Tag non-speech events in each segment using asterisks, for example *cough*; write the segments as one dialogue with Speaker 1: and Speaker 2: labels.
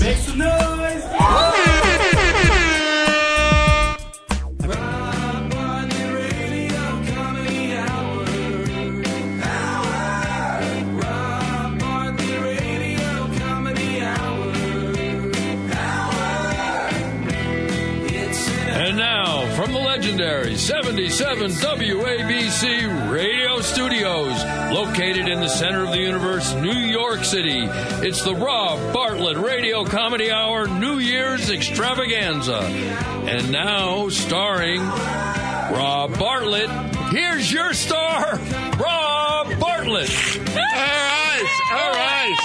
Speaker 1: noise. Rob Marley Radio Comedy Hour. Rob Marley Radio Comedy Hour. It's an
Speaker 2: And now, from the legendary 77 WABC radio studios, located in the center of the universe, New York City, it's the Rob Bartlett Radio Comedy Hour New Year's Extravaganza. And now, starring Rob Bartlett, here's your star, Rob Bartlett.
Speaker 3: All right, all right.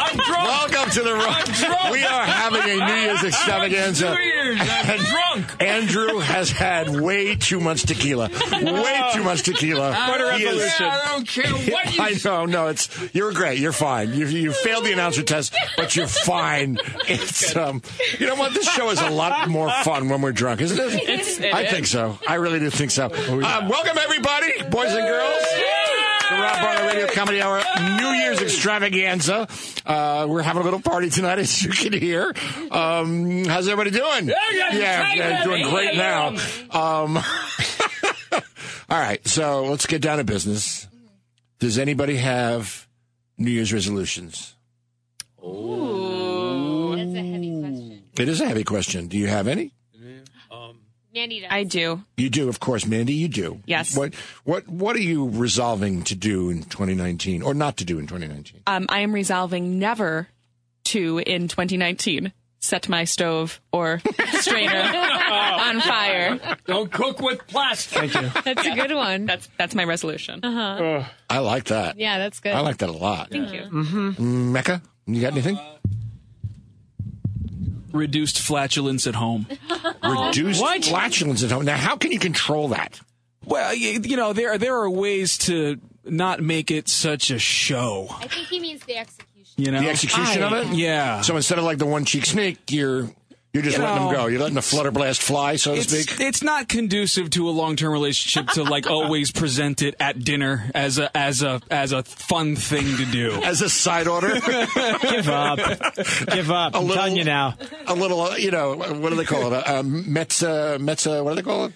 Speaker 2: I'm drunk.
Speaker 3: Welcome to the
Speaker 2: drunk.
Speaker 3: room. We are having a New
Speaker 2: *laughs*
Speaker 4: *laughs*
Speaker 3: Year's extravaganza.
Speaker 2: New Year's.
Speaker 3: *laughs*
Speaker 2: I'm drunk.
Speaker 3: Andrew has had way too much tequila. Way too much tequila. What
Speaker 2: Yeah, I don't care
Speaker 3: *laughs*
Speaker 2: what you
Speaker 3: I know, no, it's you're great. You're fine. You you failed the announcer test, but you're fine. It's um, you know what? This show is a lot more fun when we're drunk, isn't it?
Speaker 5: it
Speaker 3: I think so. I really do think so. um, welcome everybody, boys and girls. The Rob Bartlett Radio Comedy Hour New Year's Extravaganza. Uh, we're having a little party tonight, *laughs* as you can hear. Um, how's everybody doing?
Speaker 2: yeah,
Speaker 3: yeah,
Speaker 2: yeah,
Speaker 3: yeah, doing
Speaker 2: yeah,
Speaker 3: great
Speaker 2: yeah.
Speaker 3: now. Um, *laughs* all right, so let's get down to business. Does anybody have New Year's resolutions?
Speaker 6: That's a heavy question.
Speaker 3: It is a heavy question. Do you have any?
Speaker 6: Mandy does.
Speaker 5: I do.
Speaker 3: You do, of course, Mandy. You do.
Speaker 5: Yes.
Speaker 3: What what what are you resolving to do in 2019 or not to do in 2019?
Speaker 5: Um, I am resolving never to, in 2019, set my stove
Speaker 3: *laughs*
Speaker 5: or strainer on fire.
Speaker 2: don't cook with plastic.
Speaker 6: That's a good one.
Speaker 5: That's that's my resolution.
Speaker 3: I like that.
Speaker 6: Yeah, that's good.
Speaker 3: I like that a lot. Mm-hmm.
Speaker 5: Thank you.
Speaker 7: Mm-hmm.
Speaker 5: Uh,
Speaker 3: Mecca, you got anything?
Speaker 7: reduced flatulence at home.
Speaker 5: uh,
Speaker 3: Reduce flatulence at home. Now, how can you control that?
Speaker 7: Well, you, you know there there are ways to not make it such a show.
Speaker 6: I think he means the execution.
Speaker 7: You know,
Speaker 3: The execution of it.
Speaker 7: Oh, Yeah,
Speaker 3: So instead of like the one cheek sneak, you're you're just
Speaker 7: You
Speaker 3: letting them
Speaker 7: know,
Speaker 3: go. You're letting the flutter blast fly, so to speak.
Speaker 7: it's it's not conducive to a long term relationship to
Speaker 8: *laughs*
Speaker 7: like always present it at dinner as a as a as a fun thing to do.
Speaker 3: as a side order,
Speaker 8: Give up. Give up. I'm
Speaker 3: little-
Speaker 8: telling you now.
Speaker 3: a little, uh, you know, what do they call it? Uh, A, a metza, metza, what do they call it?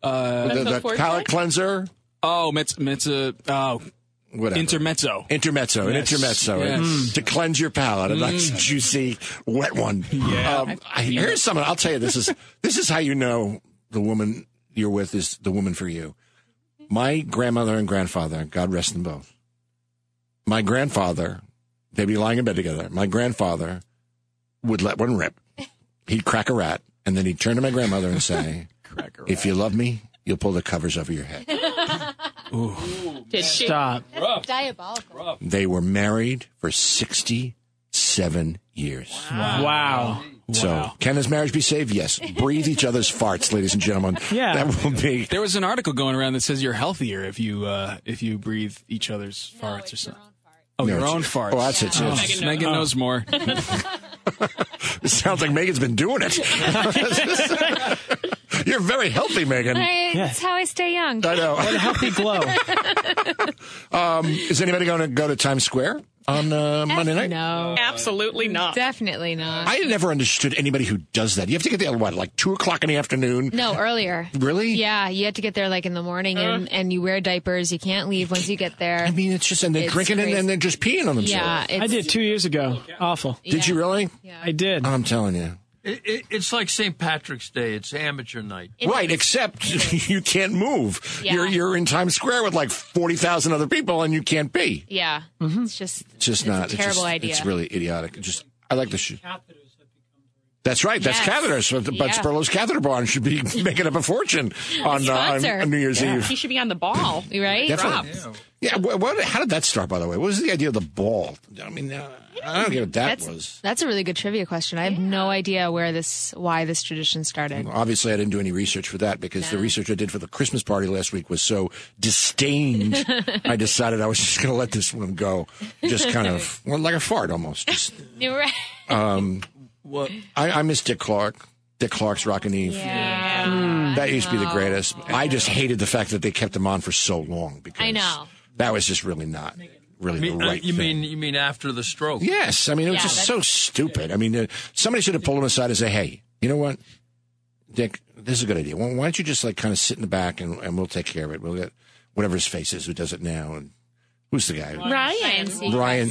Speaker 3: Uh, the the
Speaker 5: Mezzo forte?
Speaker 3: palate cleanser,
Speaker 7: Oh, it's it's a oh
Speaker 3: whatever.
Speaker 7: intermezzo.
Speaker 3: Intermezzo, an
Speaker 7: Yes.
Speaker 3: intermezzo,
Speaker 7: Yes.
Speaker 3: Mm. to cleanse your palate, a nice juicy wet one. Yeah. Um, I- here's something I'll tell you. This is this is how you know the woman you're with is the woman for you. My grandmother and grandfather, God rest them both. My grandfather, they'd be lying in bed together. My grandfather would let one rip. He'd crack a rat, and then he'd turn to my grandmother and say, "If you love me, you'll pull the covers over your head."
Speaker 5: Did she?
Speaker 8: Stop.
Speaker 6: That's diabolical.
Speaker 3: They were married for 67 years.
Speaker 8: Wow.
Speaker 3: So, can his marriage be saved? Yes. Breathe each other's farts, ladies and gentlemen.
Speaker 8: Yeah.
Speaker 3: That will be.
Speaker 7: There was an article going around that says you're healthier if you uh, if you breathe each other's
Speaker 6: No,
Speaker 7: farts or
Speaker 6: it's your
Speaker 7: something.
Speaker 6: own fart.
Speaker 7: Oh,
Speaker 3: No,
Speaker 7: your
Speaker 3: it's-
Speaker 7: own farts.
Speaker 3: Oh, that's it.
Speaker 7: Oh,
Speaker 3: yes.
Speaker 7: Megan, knows *laughs* more.
Speaker 3: It sounds like Megan's been doing it. *laughs* You're very healthy, Megan.
Speaker 6: I,
Speaker 8: Yeah.
Speaker 6: That's how I stay young.
Speaker 3: I know.
Speaker 8: A healthy glow.
Speaker 3: Is anybody going to go to Times Square on uh, Monday night?
Speaker 6: No,
Speaker 5: Absolutely not.
Speaker 6: definitely not.
Speaker 3: I never understood anybody who does that. You have to get there, what, like 2 o'clock in the afternoon?
Speaker 6: no, earlier. Uh-huh.
Speaker 3: Really?
Speaker 6: Yeah, you have to get there like in the morning, and, and you wear diapers. You can't leave once you get there.
Speaker 3: I mean, it's just, and they're
Speaker 6: It's
Speaker 3: drinking and
Speaker 6: crazy.
Speaker 3: then they're just peeing on themselves.
Speaker 6: yeah, it's,
Speaker 8: I did two years ago. Awful.
Speaker 3: Did you really?
Speaker 8: I did.
Speaker 3: I'm telling you.
Speaker 4: It, it, it's like St. Patrick's Day. It's amateur night.
Speaker 6: It
Speaker 3: right,
Speaker 6: is.
Speaker 3: except *laughs* you can't move.
Speaker 6: Yeah.
Speaker 3: You're you're in Times Square with like forty thousand other people, and you can't pee.
Speaker 6: Yeah, it's just
Speaker 3: It's just
Speaker 6: It's a
Speaker 3: not it's
Speaker 6: terrible
Speaker 3: just,
Speaker 6: idea.
Speaker 3: It's really idiotic. It Just I like the shoe. That's right. That's
Speaker 6: Yes.
Speaker 3: catheters. So the Bud
Speaker 6: Yeah.
Speaker 3: Spurlow's catheter barn should be *laughs* making up a
Speaker 6: *laughs*
Speaker 3: fortune on, uh, on,
Speaker 6: Sponsor.
Speaker 3: on New Year's Eve.
Speaker 5: He should be on the ball.
Speaker 6: you right.
Speaker 3: Definitely. Yeah. What, what, how did that start, by the way? What was the idea of the ball? I mean, uh, I don't get what that was.
Speaker 6: That's a really good trivia question. I have no idea where this, why this tradition started.
Speaker 3: Obviously, I didn't do any research for that because the research I did for the Christmas party last week was so disdained. I decided I was just going to let this one go, just kind of well, like a fart almost. Just,
Speaker 6: You're *laughs* right.
Speaker 3: I, I miss Dick Clark. Dick Clark's Rockin' Eve. that used to be the greatest. I just hated the fact that they kept him on for so long because
Speaker 6: I know.
Speaker 3: that was just really not. really
Speaker 4: mean, uh,
Speaker 3: the right
Speaker 4: you
Speaker 3: thing.
Speaker 4: mean you mean after the stroke?
Speaker 3: Yes, I mean it was
Speaker 6: Yeah,
Speaker 3: just so stupid. I mean, uh, somebody should have pulled him aside and say, "Hey, you know what, Dick? This is a good idea. Why why don't you just like kind of sit in the back and, and we'll take care of it. We'll get whatever his face is who does it now and who's the guy?
Speaker 5: Ryan.
Speaker 3: Ryan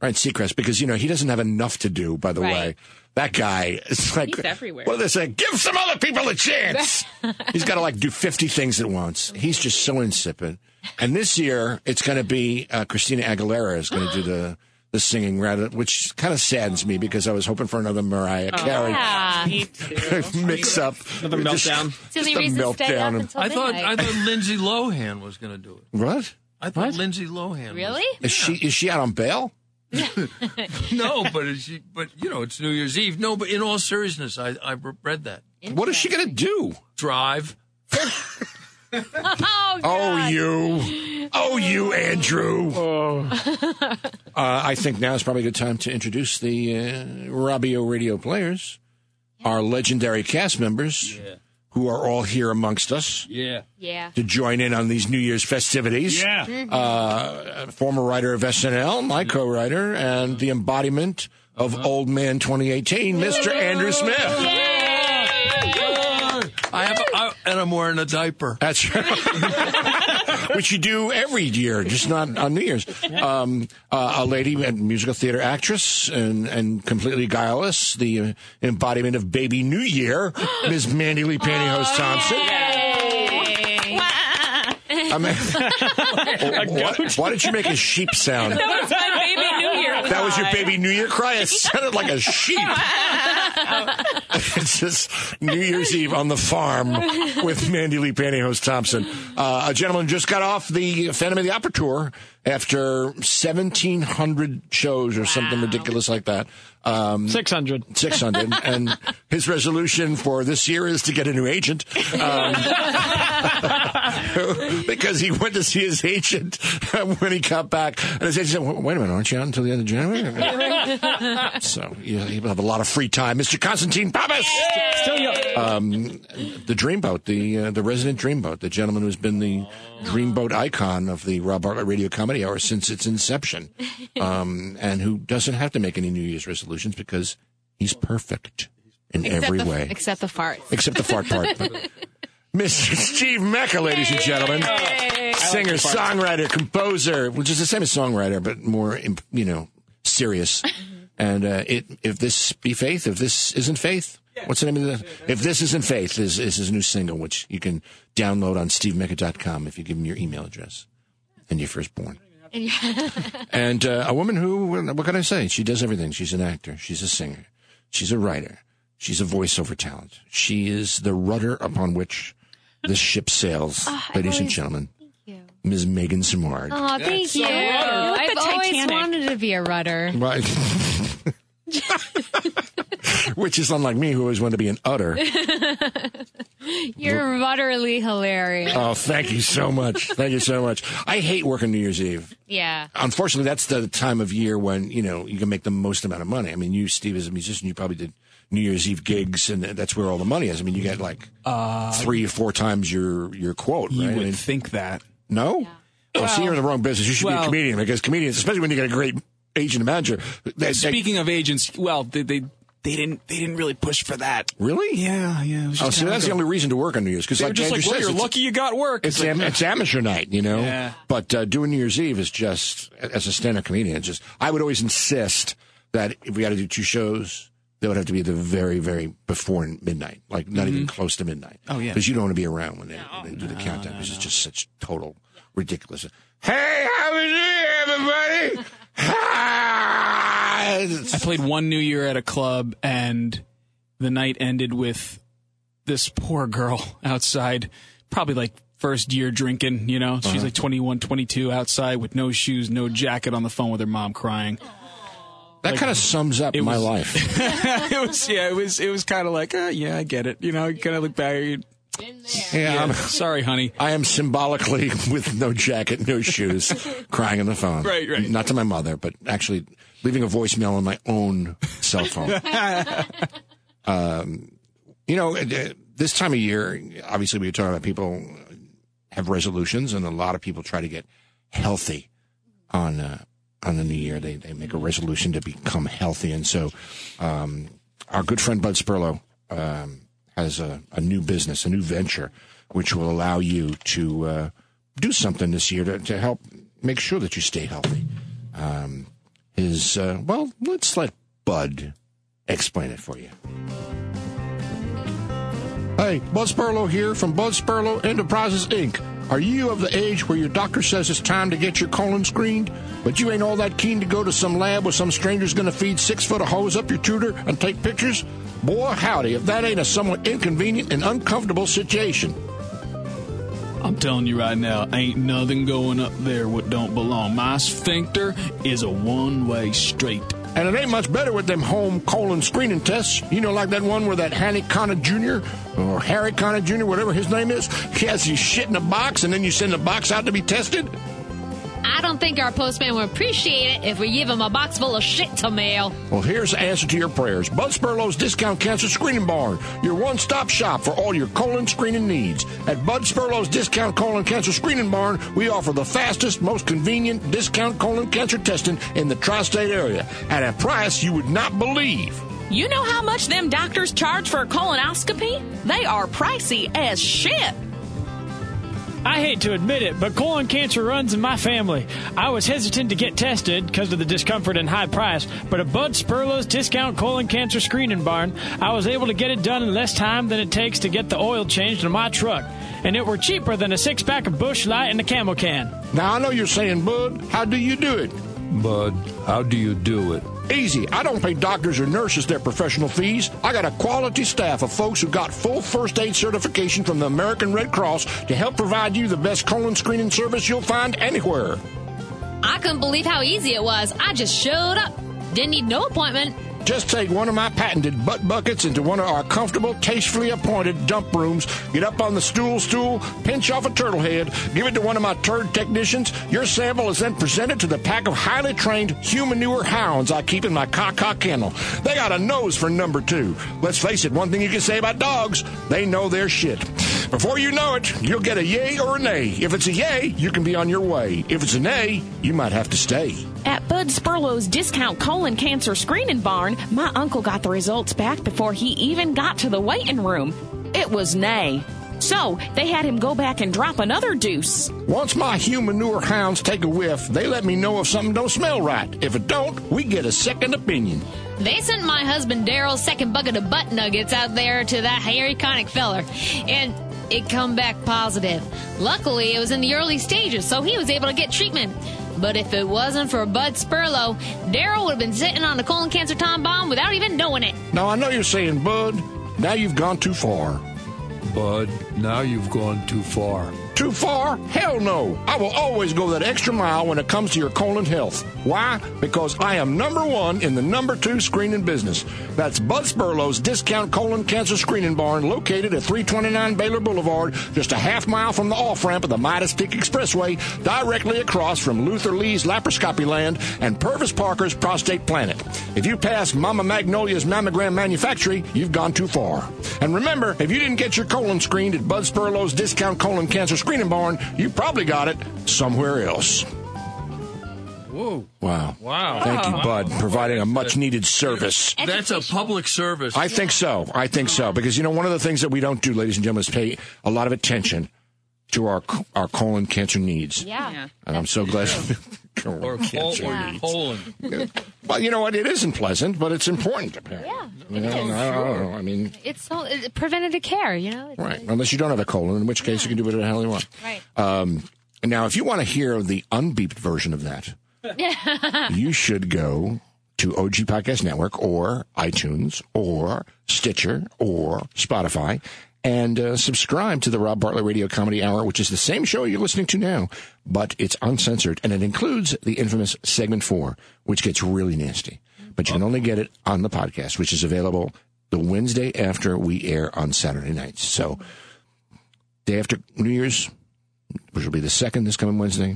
Speaker 3: Ryan Seacrest because you know he doesn't have enough to do. By the way,
Speaker 6: Right.
Speaker 3: that guy is like
Speaker 5: He's everywhere.
Speaker 3: What are they saying? Give some other people a chance. He's got to like do fifty things at once. He's just so insipid. And this year it's going to be uh, Christina Aguilera is going to do the the singing rather, which kind of saddens me because I was hoping for another Mariah Carey
Speaker 6: Yeah.
Speaker 3: *laughs* mix up, another
Speaker 7: meltdown.
Speaker 6: It's the only reason to stay up until
Speaker 4: I thought I
Speaker 6: midnight.
Speaker 4: thought Lindsay Lohan was going to do it.
Speaker 3: what?
Speaker 4: I thought Lindsay Lohan. was-
Speaker 6: Really?
Speaker 3: Is she is she out on bail?
Speaker 6: *laughs*
Speaker 4: no, but is she, but you know it's New Year's Eve. No, but in all seriousness, I I read that
Speaker 3: What is she going to do?
Speaker 4: drive.
Speaker 6: Oh,
Speaker 3: Oh, you. Oh, you, Andrew. *laughs* uh, I think now is probably a good time to introduce the uh, Robbio radio players, our legendary cast members, who are all here amongst us
Speaker 2: Yeah.
Speaker 6: yeah.
Speaker 3: to join in on these New Year's festivities.
Speaker 8: Yeah.
Speaker 3: Former writer of SNL, my co writer, and the embodiment of Old Man 2018, Mr. Andrew Smith.
Speaker 4: I have I, and I'm wearing a diaper.
Speaker 3: That's right. *laughs* Which you do every year, just not on New Year's. Um, uh, a lady, a musical theater actress, and, and completely guileless, the uh, embodiment of Baby New Year, Ms. Mandy Lee Pantyhose Thompson. I mean, why, why did you make a sheep sound?
Speaker 5: *laughs* That was my baby New Year.
Speaker 3: That was your baby New Year cry. It sounded like a sheep. it's just New Year's Eve on the farm with Mandy Lee Pantyhose Thompson. Uh, a gentleman just got off the Phantom of the Opera tour after 1,700 shows or something ridiculous like that. Um,
Speaker 8: 600.
Speaker 3: 600. and his resolution for this year is to get a new agent. Um, *laughs* because he went to see his agent when he got back. And his agent said, wait a minute, aren't you out until the end of January? so yeah, he'll have a lot of free time. Mr. Constantine Pappas!
Speaker 8: Still young.
Speaker 3: The Dreamboat, the, uh, the resident Dreamboat, the gentleman who's been the Dreamboat icon of the Rob Bartlett Radio Comedy Hour since its
Speaker 6: *laughs*
Speaker 3: inception. Um, and who doesn't have to make any New Year's resolutions because he's perfect in every
Speaker 6: except the,
Speaker 3: way
Speaker 6: Except the farts.
Speaker 3: except the fart part. *laughs* But- Mr. Steve Mecca, ladies and gentlemen, singer, songwriter, composer, which is the same as songwriter, but more imp- you know serious. And uh, it, if this be faith, if this isn't faith, what's the name of the? If this isn't faith is is his new single, which you can download on stevemecca.com if you give him your email address and your firstborn. and uh, a woman who, what can I say? She does everything. She's an actor. She's a singer. She's a writer. She's a voiceover talent. She is the rudder upon which this ship sails, ladies and gentlemen. Thank
Speaker 6: you.
Speaker 3: Ms. Megan Simard.
Speaker 4: Ah.
Speaker 6: Oh, thank you. I've
Speaker 5: the
Speaker 6: always
Speaker 5: Titanic.
Speaker 6: wanted to be a rudder.
Speaker 3: *laughs* Right. *laughs* Which is unlike me, who always wanted to be an udder.
Speaker 6: You're utterly hilarious.
Speaker 3: Oh, thank you so much. Thank you so much. I hate working New Year's Eve.
Speaker 6: yeah.
Speaker 3: unfortunately, that's the time of year when you know you can make the most amount of money. I mean, you, Steve, as a musician, you probably did New Year's Eve gigs, and that's where all the money is. I mean, you get like three or four times your your quote,
Speaker 7: Uh, You
Speaker 3: right? I
Speaker 7: would
Speaker 3: mean,
Speaker 7: think that.
Speaker 3: no, well, see, you're in the wrong business. You should be a
Speaker 7: well-
Speaker 3: comedian because comedians, especially when you get a great agent and manager, they, they,
Speaker 7: Speaking of agents, well, they, they they didn't they didn't really push for that.
Speaker 3: really.
Speaker 7: Yeah, yeah. It was
Speaker 3: Oh,
Speaker 7: just
Speaker 3: see,
Speaker 7: kinda
Speaker 3: that's
Speaker 7: like
Speaker 3: the
Speaker 7: a-
Speaker 3: only reason to work on New Year's because,
Speaker 7: They were
Speaker 3: like
Speaker 7: just
Speaker 3: Andrew
Speaker 7: like, well,
Speaker 3: says,
Speaker 7: you're
Speaker 3: it's-
Speaker 7: lucky you got work.
Speaker 3: It's,
Speaker 7: *laughs*
Speaker 3: am- it's amateur night, you know.
Speaker 7: Yeah.
Speaker 3: But uh, doing New Year's Eve is just as a stand-up comedian. it's Just I would always insist that if we got to do two shows, they would have to be the very, very before midnight, like not even close to midnight. Oh
Speaker 7: Mm-hmm. yeah.
Speaker 3: because you don't want to be around when they, when they do the countdown. because It's just such total ridiculous. Hey, how was it, everybody? Hi! It's-
Speaker 7: I played one New Year at a club, and the night ended with this poor girl outside, probably like first year drinking, you know? She's like 21, 22 outside with no shoes, no jacket on the phone with her mom crying.
Speaker 3: that kind of sums up my
Speaker 7: was- *laughs*
Speaker 3: life.
Speaker 7: it was, yeah, it was, it was kind of like, uh, yeah, I get it. You know, you kind of look back. you-
Speaker 3: *laughs* yeah,
Speaker 7: Yeah,
Speaker 3: I'm-
Speaker 7: sorry, honey.
Speaker 3: I am symbolically *laughs* with no jacket, no shoes, crying on the phone.
Speaker 7: Right, right.
Speaker 3: Not to my mother, but actually leaving a voicemail on my own cell phone. um, you know, uh, this time of year, obviously, we were talking about people have resolutions, and a lot of people try to get healthy on uh, on the new year. They they make a resolution to become healthy, and so um, our good friend Bud Spurlow um, has a, a new business, a new venture, which will allow you to uh, do something this year to, to help make sure that you stay healthy. Um, his uh, well, let's let Bud explain it for you. Hey, Bud Spurlow here from Bud Spurlow Enterprises Inc. Are you of the age where your doctor says it's time to get your colon screened, but you ain't all that keen to go to some lab where some stranger's gonna feed six foot of hose up your tutor and take pictures? Boy, howdy, if that ain't a somewhat inconvenient and uncomfortable situation.
Speaker 7: I'm telling you right now, ain't nothing going up there what don't belong. My sphincter is a one way street.
Speaker 3: And it ain't much better with them home colon screening tests. You know, like that one where that Hanny Connick Jr. or Harry Connick Jr., whatever his name is, he has you shit in a box and then you send the box out to be tested?
Speaker 6: I don't think our postman would appreciate it if we give him a box full of shit to mail.
Speaker 3: Well, here's the answer to your prayers. Bud Spurlow's Discount Cancer Screening Barn, your one-stop shop for all your colon screening needs. At Bud Spurlow's Discount Colon Cancer Screening Barn, we offer the fastest, most convenient discount colon cancer testing in the tri-state area at a price you would not believe.
Speaker 5: You know how much them doctors charge for a colonoscopy? They are pricey as shit.
Speaker 8: I hate to admit it, but colon cancer runs in my family. I was hesitant to get tested because of the discomfort and high price, but at Bud Spurlow's discount colon cancer screening barn, I was able to get it done in less time than it takes to get the oil changed in my truck, and it were cheaper than a six pack of Bush Light and a Camel can.
Speaker 3: Now, I know you're saying, Bud, how do you do it?
Speaker 4: Bud, how do you do it?
Speaker 3: Easy. I don't pay doctors or nurses their professional fees. I got a quality staff of folks who got full first aid certification from the American Red Cross to help provide you the best colon screening service you'll find anywhere.
Speaker 6: I couldn't believe how easy it was. I just showed up. Didn't need no appointment.
Speaker 3: Just take one of my patented butt buckets into one of our comfortable, tastefully appointed dump rooms, get up on the stool stool, pinch off a turtle head, give it to one of my turd technicians. Your sample is then presented to the pack of highly trained humanure hounds I keep in my cock kennel. They got a nose for number two. Let's face it, one thing you can say about dogs, they know their shit. Before you know it, you'll get a yay or a nay. If it's a yay, you can be on your way. If it's a nay, you might have to stay.
Speaker 5: At Bud Spurlow's discount colon cancer screening barn, my uncle got the results back before he even got to the waiting room. It was nay. So they had him go back and drop another deuce.
Speaker 3: Once my humanure hounds take a whiff, they let me know if something don't smell right. If it don't, we get a second opinion.
Speaker 6: They sent my husband Daryl's second bucket of butt nuggets out there to that hairy conic feller, and it come back positive. Luckily, it was in the early stages, so he was able to get treatment. But if it wasn't for Bud Spurlow, Daryl would have been sitting on a colon cancer time bomb without even knowing it.
Speaker 3: Now I know you're saying, Bud, now you've gone too far.
Speaker 4: Bud, now you've gone too far.
Speaker 3: Too far? Hell no. I will always go that extra mile when it comes to your colon health. Why? Because I am number one in the number two screening business. That's Bud Spurlow's Discount Colon Cancer Screening Barn, located at 329 Baylor Boulevard, just a half mile from the off ramp of the Midas Peak Expressway, directly across from Luther Lee's Laparoscopy Land and Purvis Parker's Prostate Planet. If you pass Mama Magnolia's Mammogram Manufactory, you've gone too far. And remember, if you didn't get your colon screened at Bud Spurlow's Discount Colon Cancer Screening Barn, you probably got it somewhere else.
Speaker 4: Whoa.
Speaker 3: Wow.
Speaker 4: Wow.
Speaker 3: Thank you, Bud, providing a much needed service.
Speaker 4: That's a public service.
Speaker 3: I think so. I think so. Because, you know, one of the things that we don't do, ladies and gentlemen, is pay a lot of attention to our our colon cancer needs.
Speaker 6: Yeah.
Speaker 3: And I'm so glad.
Speaker 4: or
Speaker 3: *laughs* colon
Speaker 4: col-
Speaker 3: cancer
Speaker 4: or
Speaker 3: needs.
Speaker 4: colon.
Speaker 3: Well, you know what? It isn't pleasant, but it's important, apparently.
Speaker 6: Yeah,
Speaker 3: I mean, I don't know. I don't know. I mean,
Speaker 6: It's so it's preventative care, you know? It's-
Speaker 3: Right. Unless you don't have a colon, in which case you can do whatever the hell you want.
Speaker 6: Right.
Speaker 3: Um, now, if you want to hear the unbeeped version of that, you should go to OG Podcast Network or iTunes or Stitcher or Spotify and uh, subscribe to the Rob Bartlett Radio Comedy Hour, which is the same show you're listening to now, but it's uncensored and it includes the infamous segment four, which gets really nasty. But you can only get it on the podcast, which is available the Wednesday after we air on Saturday nights. So, day after New Year's, which will be the second this coming Wednesday.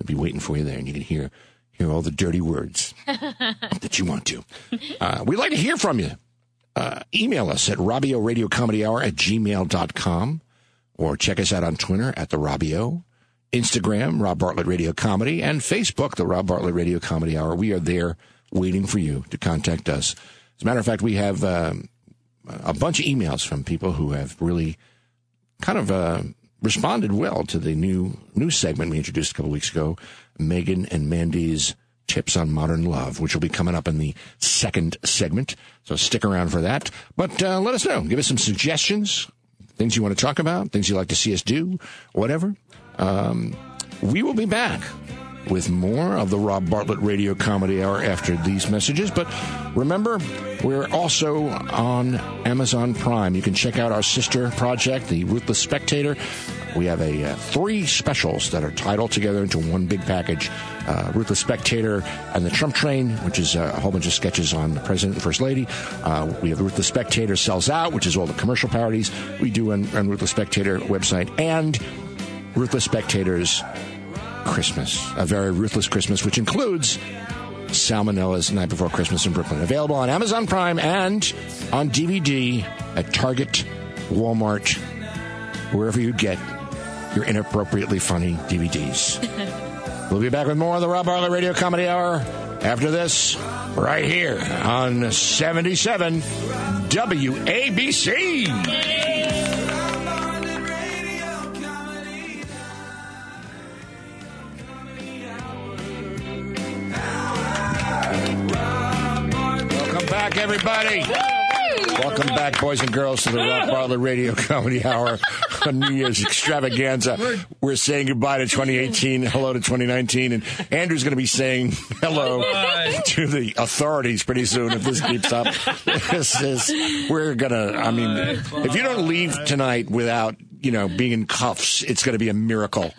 Speaker 3: I'll be waiting for you there, and you can hear hear all the dirty words that you want to. Uh, we'd like to hear from you. Uh, email us at Robbio Radio Comedy Hour at gmail.com or check us out on Twitter at the Robbio. Instagram, Rob Bartlett Radio Comedy, and Facebook, the Rob Bartlett Radio Comedy Hour. We are there waiting for you to contact us. As a matter of fact, we have um, a bunch of emails from people who have really kind of uh, responded well to the new new segment we introduced a couple weeks ago, Megan and Mandy's tips on modern love, which will be coming up in the second segment. So stick around for that. But uh, let us know. Give us some suggestions, things you want to talk about, things you'd like to see us do, whatever. Um, we will be back with more of the Rob Bartlett Radio Comedy Hour after these messages. But remember, we're also on Amazon Prime. You can check out our sister project, The Ruthless Spectator. We have a uh, three specials that are titled together into one big package: uh, Ruthless Spectator and The Trump Train, which is uh, a whole bunch of sketches on the president and first lady. Uh, we have Ruthless Spectator sells out, which is all the commercial parodies we do on, on Ruthless Spectator website, and Ruthless Spectators Christmas, a very ruthless Christmas, which includes Salmonella's Night Before Christmas in Brooklyn. Available on Amazon Prime and on DVD at Target, Walmart, wherever you get your inappropriately funny DVDs. we'll be back with more of the Rob Bartlett Radio Comedy Hour after this, right here on 77 WABC. Welcome back, everybody. Welcome back, boys and girls, to the Rob Bartlett Radio Comedy Hour on New Year's extravaganza. We're saying goodbye to 2018, hello to 2019, and Andrew's going to be saying hello
Speaker 4: Bye.
Speaker 3: to the authorities pretty soon if this keeps up. This is, we're going to, I mean, if you don't leave tonight without, you know, being in cuffs, it's going to be a miracle.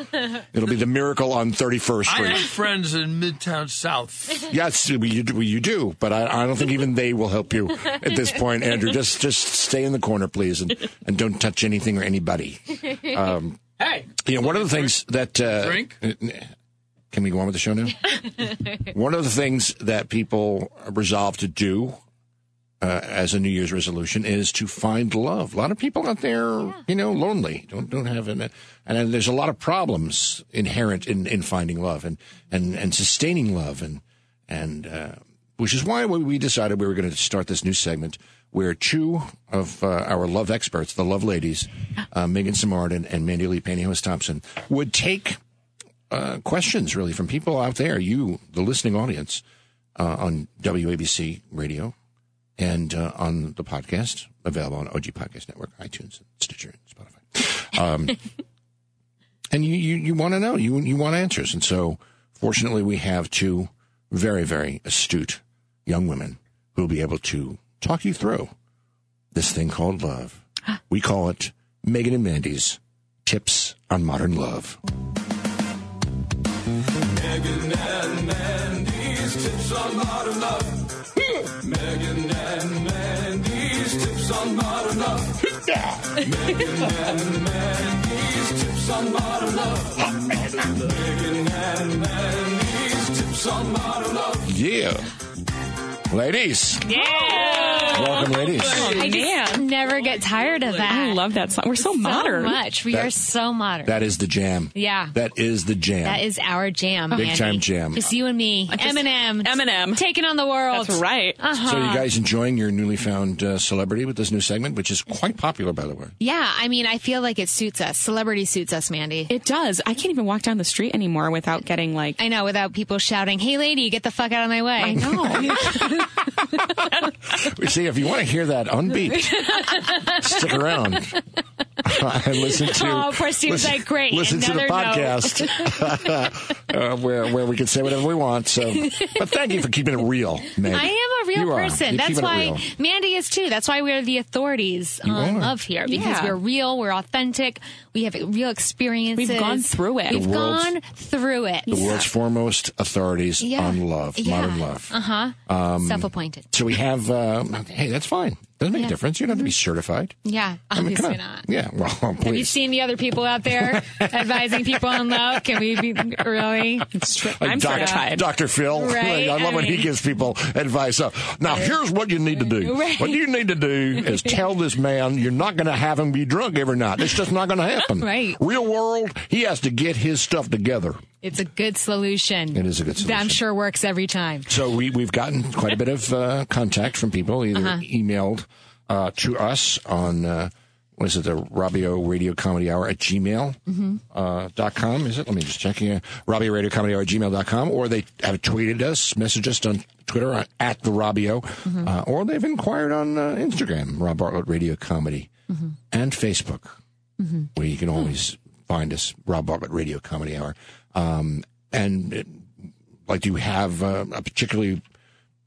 Speaker 3: It'll be the miracle on 31st
Speaker 4: I
Speaker 3: Street.
Speaker 4: have friends in Midtown South.
Speaker 3: *laughs*
Speaker 6: *laughs*
Speaker 3: Yes, well, you, do- well, you do, but I, I don't think even they will help you at this point, Andrew. Just just stay in the corner, please, and, and don't touch anything or anybody. Um,
Speaker 4: Hey,
Speaker 3: You know, one of the things that uh,
Speaker 4: Drink?
Speaker 3: Can we go on with the
Speaker 4: *laughs*
Speaker 3: show now? one of the things that people resolve to do uh, as a New Year's resolution is to find love. A lot of people out there, you know, lonely, don't don't have an, and then there's a lot of problems inherent in, in finding love and and and sustaining love and and uh, which is why we decided we were going to start this new segment where two of uh, our love experts, the love ladies, uh, Megan Samardin and Mandy Lee Pantyhose Thompson, would take uh, questions really from people out there, you, the listening audience, uh, on WABC Radio and uh, on the podcast available on OG Podcast Network, iTunes, Stitcher, and Spotify. Um, and you, you, you want to know, you, you want answers. And so, fortunately, we have two very, very astute young women who will be able to talk you through this thing called love. We call it Megan and Mandy's Tips on Modern Love. *laughs* Yeah. Ladies. Yeah. Welcome, ladies.
Speaker 6: I just
Speaker 5: Oh, man.
Speaker 6: never get tired of that.
Speaker 5: I love that song. We're so,
Speaker 6: so
Speaker 5: modern.
Speaker 6: much. We
Speaker 3: That-
Speaker 6: are so modern.
Speaker 3: That is the jam.
Speaker 6: Yeah.
Speaker 3: That is the jam.
Speaker 6: that is our jam, big
Speaker 3: time jam.
Speaker 6: Just you and me, Eminem,
Speaker 5: Eminem.
Speaker 6: taking on the world.
Speaker 5: That's right.
Speaker 3: so,
Speaker 6: uh-huh.
Speaker 3: you guys enjoying your newly found uh, celebrity with this new segment, which is quite popular, by the way.
Speaker 6: Yeah, I mean, I feel like it suits us. Celebrity suits us, Mandy.
Speaker 5: It does. I can't even walk down the street anymore without getting like.
Speaker 6: I know, without people shouting, "Hey, lady, get the fuck out of my way!" *laughs* I know.
Speaker 3: See, if you want to hear that unbeat,
Speaker 6: *laughs*
Speaker 3: stick around *laughs* and listen to.
Speaker 6: Oh, Preston's like, great,
Speaker 3: Listen to the
Speaker 6: another note.
Speaker 3: podcast
Speaker 6: *laughs*
Speaker 3: uh, where where we can say whatever we want. So, but thank you for keeping it real, Meg.
Speaker 6: I am a real
Speaker 3: You are.
Speaker 6: person.
Speaker 3: You're
Speaker 6: That's
Speaker 3: keeping it
Speaker 6: why
Speaker 3: real.
Speaker 6: Mandy is too. That's why we are the authorities on
Speaker 3: are.
Speaker 6: love here because
Speaker 5: Yeah.
Speaker 6: we're real, we're authentic, we have real experiences.
Speaker 5: We've gone through it.
Speaker 6: We've
Speaker 3: The world's-
Speaker 6: gone through it.
Speaker 3: the world's foremost authorities
Speaker 6: Yeah.
Speaker 3: on love,
Speaker 6: Yeah. Uh-huh.
Speaker 3: modern love. Um,
Speaker 6: Self-appointed.
Speaker 3: So we have. Uh, hey, that's fine. Doesn't make a
Speaker 6: Yeah.
Speaker 3: difference. You don't have to be certified.
Speaker 6: Yeah,
Speaker 3: I mean,
Speaker 6: obviously
Speaker 3: come on.
Speaker 6: not.
Speaker 3: Yeah, well, *laughs*
Speaker 6: Have you
Speaker 3: please.
Speaker 6: seen the other people
Speaker 3: *laughs*
Speaker 6: out there advising people on love? Can we be really?
Speaker 5: I'm
Speaker 3: Doc-
Speaker 5: certified.
Speaker 3: Dr. Phil. *laughs*
Speaker 6: Right?
Speaker 3: I love
Speaker 6: I
Speaker 3: when he
Speaker 6: mean-
Speaker 3: gives people advice. Uh, stuff. Now, here's what you need to do.
Speaker 6: Right.
Speaker 3: What you need to do
Speaker 6: *laughs*
Speaker 3: is tell this man you're not going to have him be drunk every night. It's just not going to happen.
Speaker 6: *laughs* Right.
Speaker 3: Real world, he has to get his stuff together.
Speaker 6: It's a good solution.
Speaker 3: It is a good
Speaker 6: That I'm
Speaker 3: solution.
Speaker 6: sure works every time.
Speaker 3: So we, we've gotten quite a bit of uh, contact from people, either emailed uh, to us on, uh, what is it, the Robbio Radio Comedy Hour at gmail uh, dot com, is it? Let me just check here. Robbio Radio Comedy Hour at gmail dot com, or they have tweeted us, messaged us on Twitter uh, at the Robbio, uh, or they've inquired on uh, Instagram, Rob Bartlett Radio Comedy, and Facebook, where you can always find us, Rob Bartlett Radio Comedy Hour. Um, and it, like do you have uh, a particularly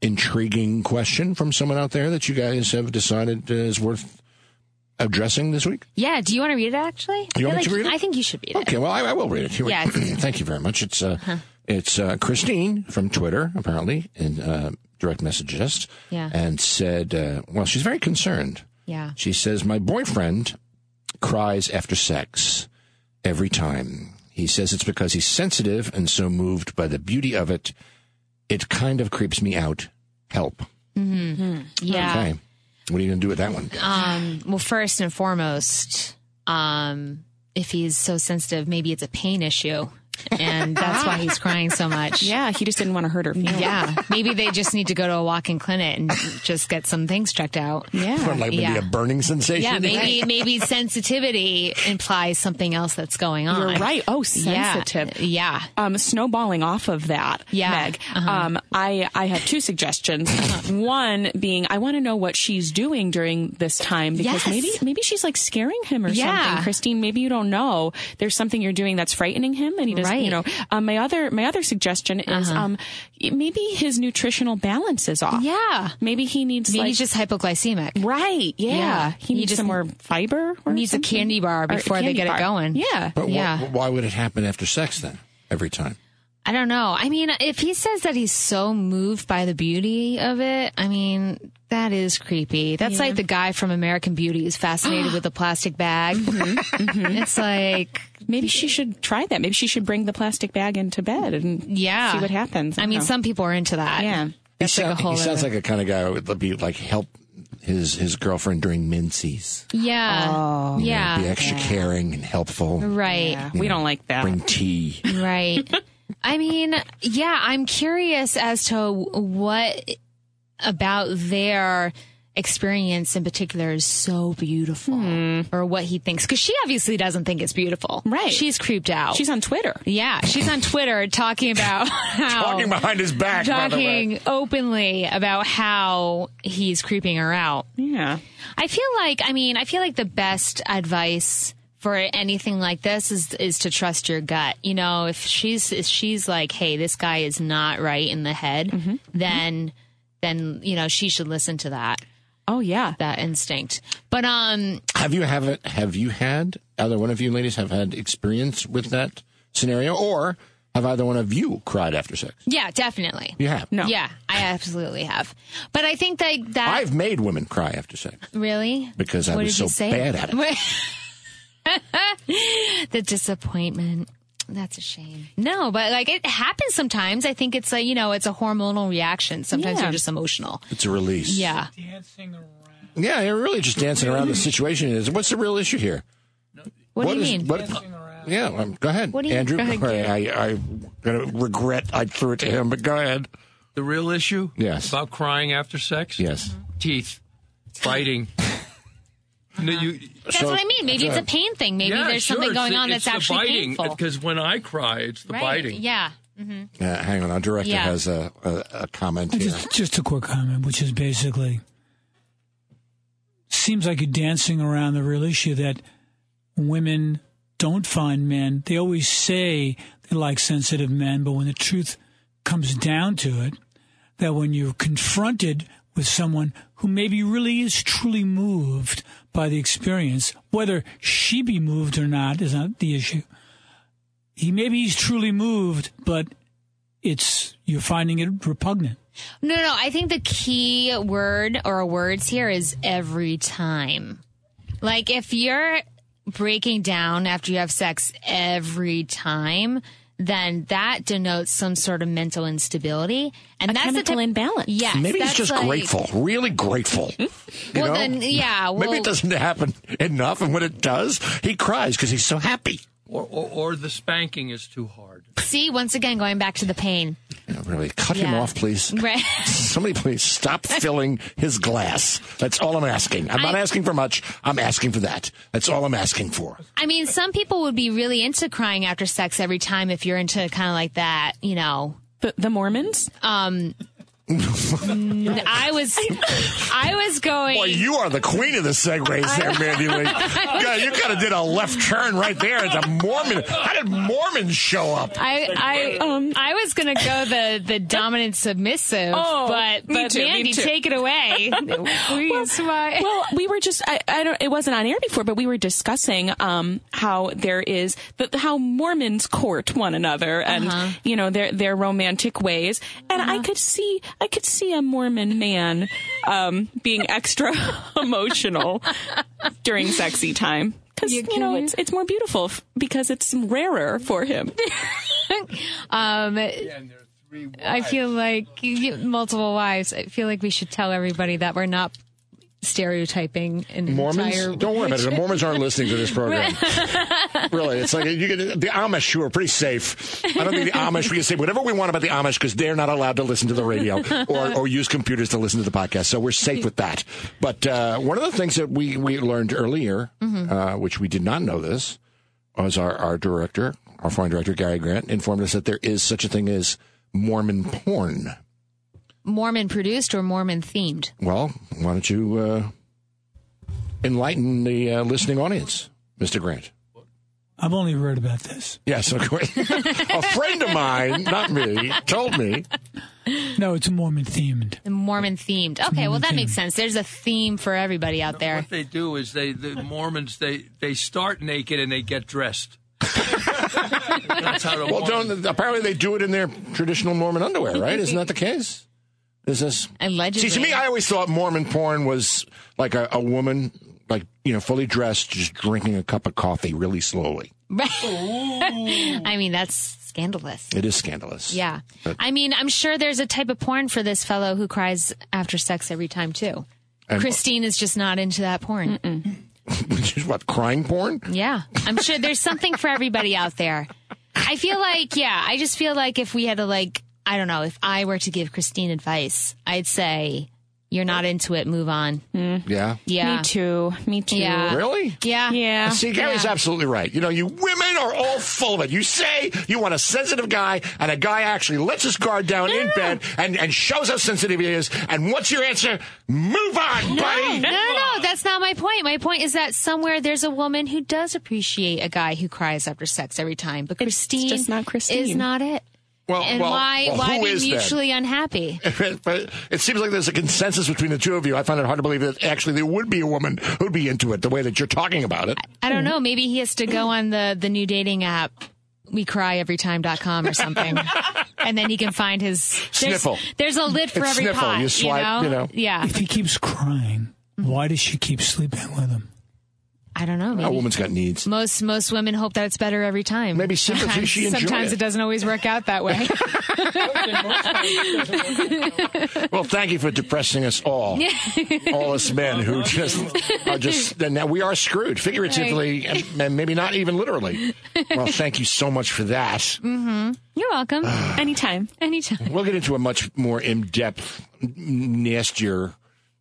Speaker 3: intriguing question from someone out there that you guys have decided uh, is worth addressing this week
Speaker 6: Yeah. Do you want to read it? Actually, I
Speaker 3: You
Speaker 6: feel
Speaker 3: want me to
Speaker 6: like-
Speaker 3: read it?
Speaker 6: I think you should read it.
Speaker 3: okay well i, I will read it Here we-
Speaker 6: Yeah, it's-
Speaker 3: *clears throat* thank you very much it's uh, it's uh, christine from twitter apparently and uh, direct messaged us
Speaker 6: Yeah.
Speaker 3: and said uh, well she's very concerned
Speaker 6: Yeah.
Speaker 3: she says my boyfriend cries after sex every time he says it's because he's sensitive and so moved by the beauty of it it kind of creeps me out help
Speaker 6: Yeah. Um,
Speaker 3: Okay. What are you going to do with that one?
Speaker 6: Well, first and foremost, um, if he's so sensitive, maybe it's a pain issue, and that's why *laughs* he's crying so much.
Speaker 9: Yeah, he just didn't want to hurt her feelings.
Speaker 6: Yeah. Maybe they just need to go to a walk-in clinic and just get some things checked out.
Speaker 3: What, like maybe
Speaker 6: yeah.
Speaker 3: a burning sensation?
Speaker 6: Yeah, maybe maybe sensitivity implies something else that's going on.
Speaker 9: You're right. Oh, sensitive.
Speaker 6: Yeah. yeah.
Speaker 9: um, snowballing off of that,
Speaker 6: Yeah. Uh-huh.
Speaker 9: Meg. Um, I I have
Speaker 6: *laughs*
Speaker 9: two suggestions. One being, I want to know what she's doing during this time because
Speaker 6: Yes.
Speaker 9: maybe maybe she's like scaring him or
Speaker 6: Yeah.
Speaker 9: something. Christine, maybe you don't know. There's something you're doing that's frightening him, and he doesn't. You know,
Speaker 6: Right. Uh-huh.
Speaker 9: um, my other my other suggestion is um, maybe his nutritional balance is off.
Speaker 6: Yeah.
Speaker 9: maybe he needs
Speaker 6: Maybe
Speaker 9: like
Speaker 6: he's just hypoglycemic.
Speaker 9: right. Yeah,
Speaker 6: Yeah.
Speaker 9: he
Speaker 6: You
Speaker 9: needs
Speaker 6: just
Speaker 9: some more fiber. Or
Speaker 6: needs a
Speaker 9: something.
Speaker 6: candy bar
Speaker 9: Or a
Speaker 6: before they
Speaker 9: candy
Speaker 6: get it
Speaker 9: bar.
Speaker 6: going.
Speaker 9: Yeah,
Speaker 3: But wh-
Speaker 6: Yeah.
Speaker 3: why would it happen after sex then? Every time.
Speaker 6: I don't know. I mean, if he says that he's so moved by the beauty of it, I mean, that is creepy. That's like the guy from American Beauty who's
Speaker 9: *gasps*
Speaker 6: fascinated with the plastic bag.
Speaker 9: Mm-hmm.
Speaker 6: *laughs* It's like,
Speaker 9: Maybe she should try that. Maybe she should bring the plastic bag into bed and
Speaker 6: yeah.
Speaker 9: see what happens. Uh-huh.
Speaker 6: I mean, some people are into that.
Speaker 9: yeah.
Speaker 3: He,
Speaker 6: That's like a
Speaker 3: sound-
Speaker 6: whole
Speaker 3: he sounds
Speaker 6: other-
Speaker 3: like a kind of guy who would be like help his his girlfriend during menses.
Speaker 6: Yeah.
Speaker 9: Oh.
Speaker 3: You know,
Speaker 6: Ah, yeah.
Speaker 3: be extra caring and helpful.
Speaker 6: Right.
Speaker 9: We don't like that.
Speaker 3: Bring tea.
Speaker 6: Right. I mean, yeah, I'm curious as to what about their experience in particular is so beautiful
Speaker 3: Hmm.
Speaker 6: or what he thinks. Cause she obviously doesn't think it's beautiful.
Speaker 9: Right.
Speaker 6: She's creeped out.
Speaker 9: She's on Twitter.
Speaker 6: yeah. She's on Twitter talking about how.
Speaker 3: *laughs* Talking behind his back, by the way.
Speaker 6: Talking openly about how he's creeping her out.
Speaker 9: Yeah.
Speaker 6: I feel like I mean, I feel like the best advice for anything like this is is to trust your gut. You know, if she's if she's like, "Hey, this guy is not right in the head,"
Speaker 3: Mm-hmm.
Speaker 6: then then you know, she should listen to that
Speaker 9: Oh yeah.
Speaker 6: that instinct. But um
Speaker 3: Have you have it, have you had either one of you ladies have had experience with that scenario or have either one of you cried after sex?
Speaker 6: yeah, definitely.
Speaker 3: You have.
Speaker 9: No.
Speaker 6: Yeah, I absolutely have. But I think that that
Speaker 3: I've made women cry after sex
Speaker 6: really
Speaker 3: because I
Speaker 6: What
Speaker 3: was
Speaker 6: did
Speaker 3: so
Speaker 6: you say?
Speaker 3: bad at it.
Speaker 6: the disappointment. That's a shame. No, but like it happens sometimes. I think it's like, you know, it's a hormonal reaction. Sometimes
Speaker 9: Yeah.
Speaker 6: you're just emotional.
Speaker 3: It's a release.
Speaker 6: Yeah.
Speaker 3: Yeah, you're really just dancing around the situation. Is what's the real issue here?
Speaker 6: What, do you
Speaker 3: is-
Speaker 6: mean?
Speaker 3: what- yeah, um, go ahead,
Speaker 6: What do you-
Speaker 3: Andrew.
Speaker 6: go ahead,
Speaker 3: I, I, I'm gonna regret I threw it to him, but go ahead.
Speaker 4: The real issue?
Speaker 3: Yes.
Speaker 4: About crying after sex?
Speaker 3: Yes.
Speaker 4: Teeth.
Speaker 6: *laughs*
Speaker 4: Biting. No, you,
Speaker 6: That's
Speaker 3: So-
Speaker 6: what I mean. Maybe it's a pain thing. Maybe
Speaker 4: yeah,
Speaker 6: Uh-huh. there's
Speaker 4: sure,
Speaker 6: something
Speaker 4: it's
Speaker 6: going
Speaker 4: the-
Speaker 6: on
Speaker 4: it's
Speaker 6: that's
Speaker 4: the
Speaker 6: actually
Speaker 4: biting,
Speaker 6: painful.
Speaker 4: Because when I cry, it's the
Speaker 6: right.
Speaker 4: biting.
Speaker 6: Yeah.
Speaker 3: Uh, hang on, our director
Speaker 6: Yeah.
Speaker 3: has a, a, a comment here.
Speaker 8: Just, just a quick comment, which is basically seems like you're dancing around the real issue that women don't find men. They always say they like sensitive men, but when the truth comes down to it, that when you're confronted with someone who maybe really is truly moved by the experience, whether she be moved or not is not the issue. He maybe he's truly moved, but it's you're finding it repugnant.
Speaker 6: No, no. I think the key word or words here is every time. Like if you're breaking down after you have sex every time, then that denotes some sort of mental instability. And
Speaker 5: A
Speaker 6: that's the
Speaker 5: chemical
Speaker 6: type-
Speaker 5: imbalance.
Speaker 6: Yes,
Speaker 3: Maybe he's
Speaker 6: that's
Speaker 3: just
Speaker 6: like-
Speaker 3: grateful, really grateful.
Speaker 6: *laughs*
Speaker 3: you
Speaker 6: Well,
Speaker 3: know?
Speaker 6: then, yeah,
Speaker 3: Maybe
Speaker 6: well-
Speaker 3: it doesn't happen enough, and when it does, he cries because he's so happy.
Speaker 4: Or, or, or the spanking is too hard.
Speaker 6: See, once again, going back to the pain.
Speaker 3: Yeah, really, cut him
Speaker 6: Yeah.
Speaker 3: off, please.
Speaker 6: *laughs* Right.
Speaker 3: Somebody, please
Speaker 6: *laughs*
Speaker 3: stop filling his glass. That's all I'm asking. I'm not
Speaker 6: I-
Speaker 3: asking for much. I'm asking for that. That's all I'm asking for.
Speaker 6: I mean, some people would be really into crying after sex every time if you're into kind of like that, you know.
Speaker 5: The, the Mormons?
Speaker 6: I was, I was going.
Speaker 3: Boy, you are the queen of the segues there, Mandy
Speaker 6: *laughs*
Speaker 3: Lee. God, you kind of did a left turn right there. It's a Mormon. How did Mormons show up?
Speaker 6: I, I, I was gonna go the the dominant submissive,
Speaker 5: Oh,
Speaker 6: but
Speaker 5: me
Speaker 6: but
Speaker 5: too, me
Speaker 6: Mandy,
Speaker 5: too.
Speaker 6: take it
Speaker 5: *laughs*
Speaker 6: away. Please, why?
Speaker 5: well, we were just I, I don't it wasn't on air before, but we were discussing um how there is the, how Mormons court one another and you know their their romantic ways. And I could see I could see a Mormon man um being extra *laughs* emotional during sexy time. Because
Speaker 6: You're
Speaker 5: you, know
Speaker 6: kidding.
Speaker 5: it's it's more beautiful f- because it's rarer for him.
Speaker 4: And
Speaker 6: um,
Speaker 4: there are three
Speaker 6: I feel like you get multiple wives. I feel like we should tell everybody that we're not stereotyping an entire.
Speaker 3: Mormons? Don't worry about it. The Mormons aren't listening to this program. really, it's like you can, the Amish who are pretty safe. I don't think the Amish. We can say whatever we want about the Amish because they're not allowed to listen to the radio or, or use computers to listen to the podcast. So we're safe with that. But uh, one of the things that we we learned earlier, uh, which we did not know this, was our our director, our foreign director Gary Grant, informed us that there is such a thing as Mormon porn.
Speaker 6: Mormon produced or Mormon themed.
Speaker 3: Well, why don't you uh, enlighten the uh, listening audience, Mr. Grant?
Speaker 10: I've only heard about this.
Speaker 3: Yes, of course. *laughs* a friend of mine, not me, told me.
Speaker 10: No, it's Mormon themed.
Speaker 6: Mormon themed. Okay, well that makes sense. There's a theme for everybody out there.
Speaker 4: What they do is they the Mormons they they start naked and they
Speaker 3: *laughs*
Speaker 4: get dressed. That's how the
Speaker 3: Well,
Speaker 4: Mormons-
Speaker 3: don't. Apparently, they do it in their traditional Mormon underwear, right? Isn't that the case? Is this?
Speaker 6: Allegedly.
Speaker 3: See, to me, I always thought Mormon porn was like a, a woman, like you know, fully dressed, just drinking a cup of coffee really slowly.
Speaker 6: I mean, that's scandalous.
Speaker 3: It is scandalous.
Speaker 6: Yeah. I mean, I'm sure there's a type of porn for this fellow who cries after sex every time, too.
Speaker 3: And-
Speaker 6: Christine is just not into that porn.
Speaker 3: *laughs* Which is what crying porn.
Speaker 6: Yeah. *laughs* I'm sure there's something for everybody out there. I feel like, yeah, I just feel like if we had to, like, I don't know, if I were to give Christine advice, I'd say, you're not into it, move on.
Speaker 3: Yeah.
Speaker 6: Yeah.
Speaker 5: Me too. Me too.
Speaker 6: Yeah.
Speaker 3: Really?
Speaker 6: Yeah.
Speaker 5: Yeah.
Speaker 3: See, Gary's absolutely right. You know, you women are all full of it. You say you want a sensitive guy, and a guy actually lets his guard down in bed and, and shows how sensitive he is. And what's your answer? Move on, buddy.
Speaker 6: No, no, no, that's not my point. My point is that somewhere there's a woman who does appreciate a guy who cries after sex every time, but Christine,
Speaker 5: just not
Speaker 6: is
Speaker 5: Christine.
Speaker 6: not it.
Speaker 3: Well,
Speaker 6: and
Speaker 3: well,
Speaker 6: why
Speaker 3: well,
Speaker 6: why
Speaker 3: who
Speaker 6: be
Speaker 3: is then?
Speaker 6: mutually unhappy?
Speaker 3: *laughs* but it seems like there's a consensus between the two of you. I find it hard to believe that actually there would be a woman who'd be into it the way that you're talking about it.
Speaker 6: I
Speaker 5: Hmm.
Speaker 6: don't know. Maybe he has to go on the the new dating app. We cry every time.com or
Speaker 5: *laughs*
Speaker 6: something. and then he can find his there's-
Speaker 3: Sniffle.
Speaker 6: There's a lid for
Speaker 3: It's
Speaker 6: every
Speaker 3: sniffle.
Speaker 6: pot.
Speaker 3: You swipe, you know.
Speaker 6: Yeah.
Speaker 10: If he keeps crying, why does she keep sleeping with him?
Speaker 6: I don't know.
Speaker 3: A
Speaker 6: Maybe.
Speaker 3: woman's got needs.
Speaker 6: Most most women hope that it's better every
Speaker 3: Oh.
Speaker 6: time.
Speaker 3: Maybe sympathy,
Speaker 6: sometimes,
Speaker 3: she enjoy
Speaker 6: sometimes
Speaker 3: it.
Speaker 6: it doesn't always work out
Speaker 3: *laughs*
Speaker 6: that way.
Speaker 3: Well, thank you for depressing us all, all us men who just are just. And now we are screwed, figuratively, and, and maybe not even literally. Well, thank you so much for that.
Speaker 6: You're welcome.
Speaker 5: *sighs* Anytime.
Speaker 6: Anytime.
Speaker 3: We'll get into a much more in-depth, n- nastier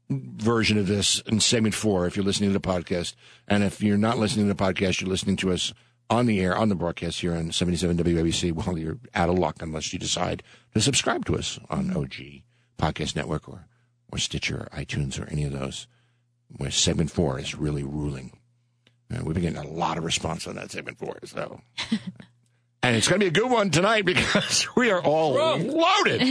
Speaker 3: version of this in segment four. If you're listening to the podcast, and if you're not listening to the podcast, you're listening to us on the air on the broadcast here on 77 WABC. Well, you're out of luck unless you decide to subscribe to us on OG Podcast Network or or Stitcher, or iTunes, or any of those. Where segment four is really ruling. Uh, we've been getting a lot of response on that segment four, so. *laughs* And it's going to be a good one tonight because we are all loaded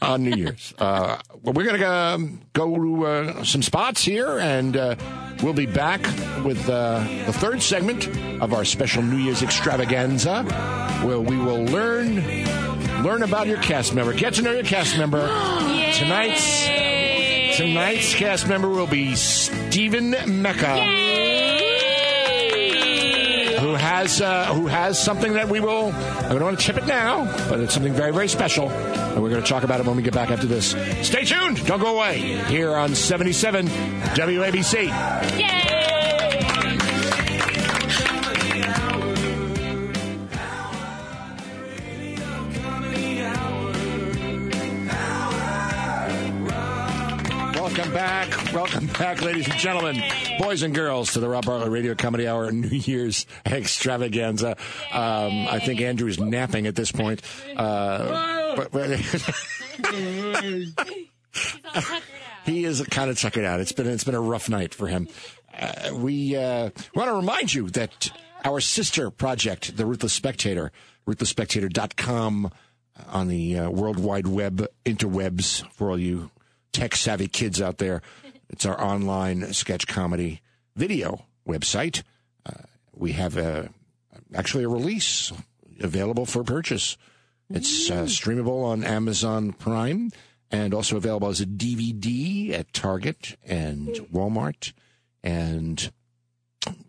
Speaker 3: on New Year's. Uh, well, we're going to um, go to uh, some spots here, and uh, we'll be back with uh, the third segment of our special New Year's extravaganza, where we will learn learn about your cast member, get to know your cast member. Tonight's tonight's cast member will be Stephen Mecca. who has uh, who has something that we will. I don't want to tip it now, but it's something very very special, and we're going to talk about it when we get back after this. Stay tuned. Don't go away. Here on 77 WABC. Welcome back. Welcome back, ladies and gentlemen, boys and girls, to the Rob Bartlett Radio Comedy Hour *laughs* New Year's Extravaganza. Um, I think Andrew is napping at this point. Uh, but, but- *laughs* he is kind of tuckered out. It's been it's been a rough night for him. Uh, we uh, want to remind you that our sister project, the Ruthless Spectator, ruthlessspectator.com uh, on the uh, World Wide Web interwebs for all you tech savvy kids out there. It's our online sketch comedy video website. Uh, we have a, actually a release available for purchase. It's uh, streamable on Amazon Prime and also available as a DVD at Target and Walmart and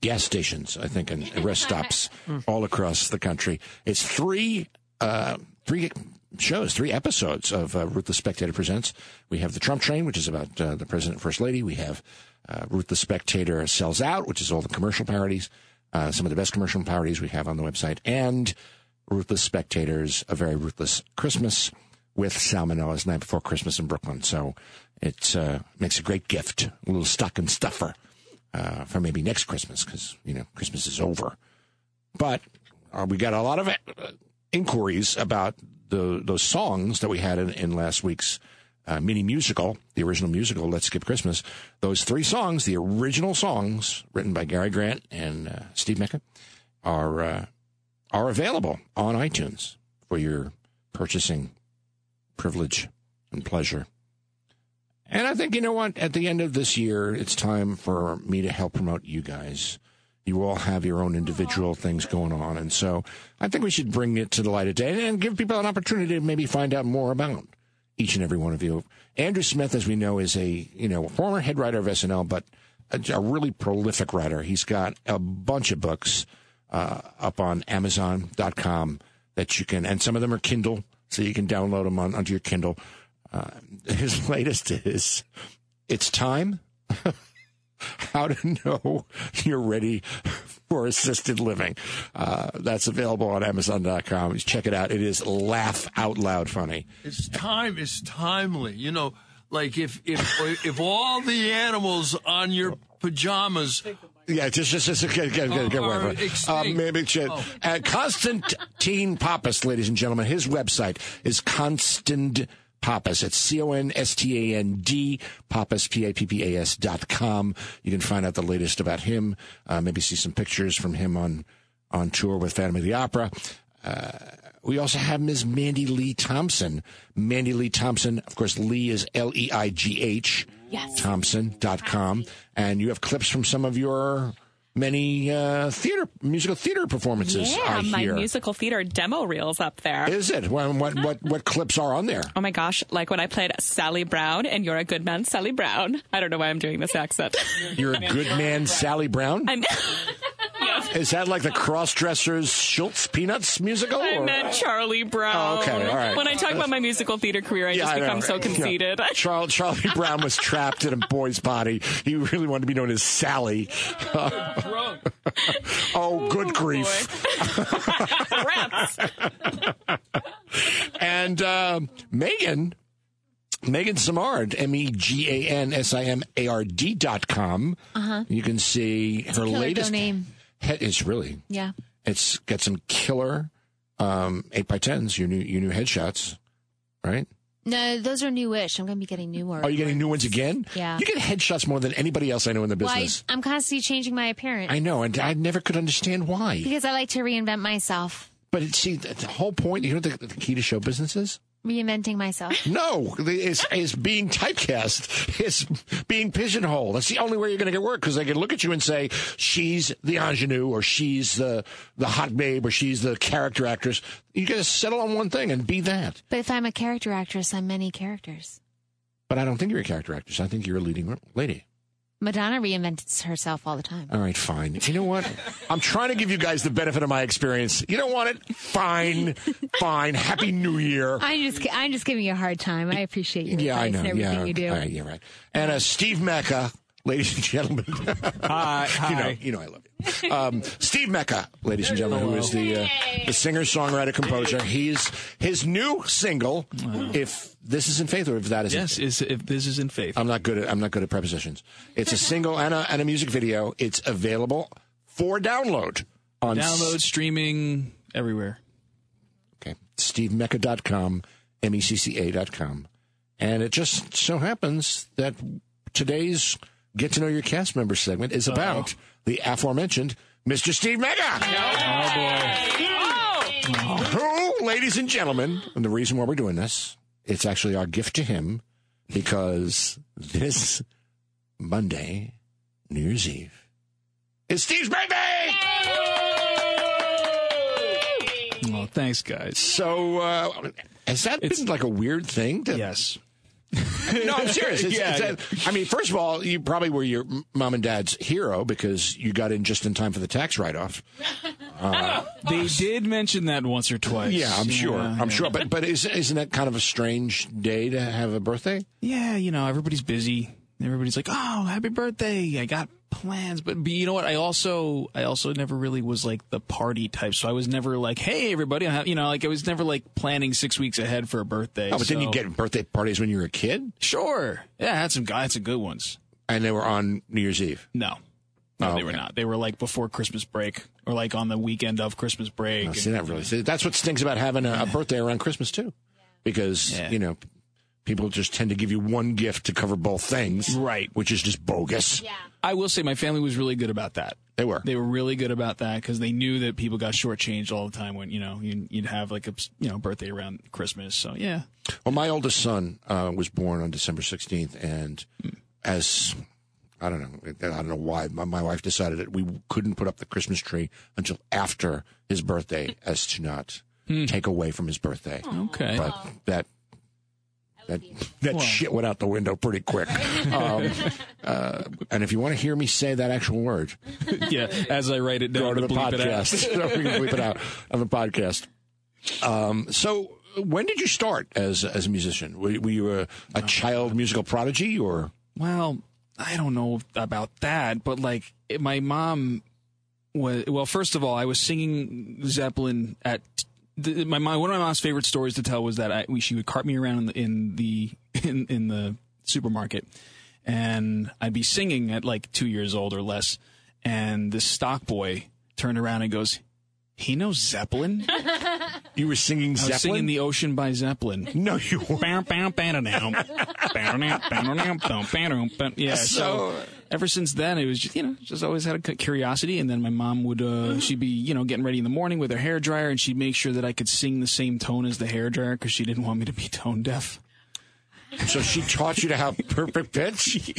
Speaker 3: gas stations, I think, and rest stops all across the country. It's three, uh, three shows, three episodes of uh, Ruth the Spectator Presents. We have The Trump Train, which is about uh, the President and First Lady. We have uh, Ruth the Spectator Sells Out, which is all the commercial parodies, uh, some of the best commercial parodies we have on the website, and Ruthless Spectators, A Very Ruthless Christmas with Salmonella's Night Before Christmas in Brooklyn. So it uh, makes a great gift, a little stocking stuffer uh, for maybe next Christmas because you know Christmas is over. But uh, we got a lot of uh, inquiries about the those songs that we had in, in last week's uh, mini musical, the original musical "Let's Skip Christmas." Those three songs, the original songs written by Gary Grant and uh, Steve Mecca, are uh, are available on iTunes for your purchasing privilege and pleasure. And I think, you know what? At the end of this year, it's time for me to help promote you guys. You all have your own individual things going on. And so I think we should bring it to the light of day and give people an opportunity to maybe find out more about each and every one of you. Andrew Smith, as we know, is a, you know, former head writer of SNL, but a, a really prolific writer. He's got a bunch of books uh, up on Amazon.com that you can, and some of them are Kindle, so you can download them on, onto your Kindle uh, his *laughs* latest is it's time *laughs* how to know you're ready for assisted living uh, that's available on amazon.com check it out it is laugh out loud funny
Speaker 4: It's time. It's timely. You know, like if if if all the animals on your pajamas.
Speaker 3: yeah just just just get, get, get, get
Speaker 4: Or
Speaker 3: whatever. uh,
Speaker 4: extinct.
Speaker 3: maybe it should. Uh, constantine pappas ladies and gentlemen his website is constant Pappas. It's C O N S T A N D Pappas P A P P A S dot com. You can find out the latest about him. Uh, maybe see some pictures from him on on tour with Phantom of the Opera. We also have Ms. Mandy Lee Thompson. Mandy Lee Thompson, of course, Lee is L E I G H. Yes. Thompson.com. And you have clips from some of your many uh, theater, musical theater performances, I
Speaker 5: Yeah, my
Speaker 3: hear.
Speaker 5: musical theater demo reels up there.
Speaker 3: Is it? What, what, what, what clips are on there?
Speaker 5: Oh my gosh, like when I played Sally Brown and You're a Good Man, Sally Brown. I don't know why I'm doing this
Speaker 3: *laughs*
Speaker 5: accent. *laughs*
Speaker 3: You're a good man, Sally Brown.
Speaker 5: I'm,
Speaker 3: Is that like the cross dressers Schultz Peanuts musical?
Speaker 5: I
Speaker 3: or-
Speaker 5: meant Charlie Brown.
Speaker 3: Oh, okay, all right.
Speaker 5: When I talk about my musical theater career, I just
Speaker 3: I know,
Speaker 5: become so
Speaker 3: right? *laughs*
Speaker 5: conceited.
Speaker 3: Yeah. Charles, Charlie Brown was trapped in a boy's body. He really wanted to be known as Sally. oh, good grief.
Speaker 5: Rats.
Speaker 3: and uh, Megan, Megan Simard, M E G A N S I M A R D dot com. You can see her
Speaker 6: killer
Speaker 3: latest.
Speaker 6: name.
Speaker 3: He- It's really,
Speaker 6: Yeah.
Speaker 3: it's got some killer um, 8 by 10s your new, your new headshots, right?
Speaker 6: No, those are newish. I'm going to be getting new more.
Speaker 3: Are Oh, you getting new ones again?
Speaker 6: Yeah.
Speaker 3: You get headshots more than anybody else I know in the
Speaker 6: Why?
Speaker 3: business.
Speaker 6: I'm constantly changing my
Speaker 3: *laughs*
Speaker 6: appearance
Speaker 3: I know, and I never could understand why.
Speaker 6: because I like to reinvent myself.
Speaker 3: But it, see, the the whole point, you know what the, the key to show business is?
Speaker 6: Reinventing
Speaker 3: *laughs*
Speaker 6: myself.
Speaker 3: No, it's, it's being typecast. It's being pigeonholed. That's the only way you're going to get work because they can look at you and say, she's the ingenue or she's the, the hot babe or she's the character actress. You got to settle on one thing and be that.
Speaker 6: but if I'm a character actress, I'm many characters.
Speaker 3: But I don't think you're a character actress. I think you're a leading lady.
Speaker 6: Madonna reinvents herself all the time.
Speaker 3: All right, fine. You know what? I'm trying to give you guys the benefit of my experience. You don't want it? Fine. Fine. Happy New Year.
Speaker 6: I'm just ki- I'm just giving you a hard time. I appreciate your
Speaker 3: Yeah, I
Speaker 6: advice
Speaker 3: know.
Speaker 6: and everything
Speaker 3: Yeah,
Speaker 6: you do.
Speaker 3: All right, yeah, right. And uh, Steve Mecca, ladies and gentlemen.
Speaker 7: Hi,
Speaker 3: *laughs* You know, you know I love you. Um, Steve Mecca, ladies and gentlemen, who is the uh, the singer, songwriter, composer. He's his new single. If this is in faith, or if that is in
Speaker 7: Yes, is if this is in faith.
Speaker 3: I'm not good at I'm not good at prepositions. It's a single and a, and a music video. It's available for download on s-
Speaker 7: Download streaming everywhere.
Speaker 3: okay, stevemecca.com, E M-E-C-C-A.com. And it just so happens that today's Get to Know Your Cast Member segment is about the aforementioned Mr. Steve Mecca, who, ladies and gentlemen, and the reason why we're doing this, it's actually our gift to him because this Monday, New Year's Eve, is Steve's birthday!
Speaker 7: Oh, thanks, guys.
Speaker 3: So, uh, has that been like a weird thing? To,
Speaker 7: Yes.
Speaker 3: No, I'm serious. It's,
Speaker 7: Yeah.
Speaker 3: it's- I mean, first of all, you probably were your m- mom and dad's hero because you got in just in time for the tax write off.
Speaker 7: They did mention that once or twice.
Speaker 3: Yeah, I'm sure. I'm sure. But but is, isn't that kind of a strange day to have a birthday?
Speaker 7: yeah, you know, everybody's busy. Everybody's like, "Oh, happy birthday! I got plans." But, but you know what? I also, I also never really was like the party type, so I was never like, "Hey, everybody!" I'm ha-" you know, like I was never like planning six weeks ahead for a birthday.
Speaker 3: Oh, but then you
Speaker 7: so-
Speaker 3: get birthday parties when you were a kid,
Speaker 7: sure, yeah, I had some, I had some good ones.
Speaker 3: and they were on New Year's Eve.
Speaker 7: No, no,
Speaker 3: Oh,
Speaker 7: they were
Speaker 3: okay.
Speaker 7: not. They were like before Christmas break or like on the weekend of Christmas break.
Speaker 3: Oh, see, that really see, that's what stinks about having a, a birthday around Christmas too, because
Speaker 7: Yeah.
Speaker 3: you know people just tend to give you one gift to cover both things,
Speaker 7: Right.
Speaker 3: Which is just bogus.
Speaker 7: I will say, my family was really good about that.
Speaker 3: They were.
Speaker 7: They were really good about that because they knew that people got shortchanged all the time when you know you'd, you'd have like a you know birthday around Christmas. So yeah,
Speaker 3: Well, my oldest son uh, was born on December 16th, and as I don't know, I don't know why my, my wife decided that we couldn't put up the Christmas tree until after his birthday, as to not take away from his birthday.
Speaker 7: okay.
Speaker 3: But that. That, that shit went out the window pretty quick. Um, uh, and if you want to hear me say that actual word,
Speaker 7: yeah, as I write it down,
Speaker 3: go to
Speaker 7: to
Speaker 3: the
Speaker 7: bleep it out.
Speaker 3: podcast.
Speaker 7: *laughs*
Speaker 3: we can bleep it out *laughs* on the podcast. Um, so when did you start as as a musician? Were, were you a, a child musical prodigy or
Speaker 7: Well, I don't know about that, but like it, my mom was. Well, first of all, I was singing Zeppelin at the, my mom. One of my mom's favorite stories to tell was that I, we, she would cart me around in the in the *laughs* in, in the supermarket, and I'd be singing at like two years old or less, and this stock boy turned around and goes. He knows Zeppelin. I
Speaker 3: you were singing
Speaker 7: was singing
Speaker 3: Zeppelin?
Speaker 7: "The Ocean" by Zeppelin.
Speaker 3: no, you weren't.
Speaker 7: yeah, so ever since then, it was just, you know, just always had a cu- curiosity. And then my mom would, uh, she'd be, you know, getting ready in the morning with her hair dryer and she'd make sure that I could sing the same tone as the hair dryer because she didn't want me to be tone deaf.
Speaker 3: So she taught you to have
Speaker 7: *laughs*
Speaker 3: perfect pitch.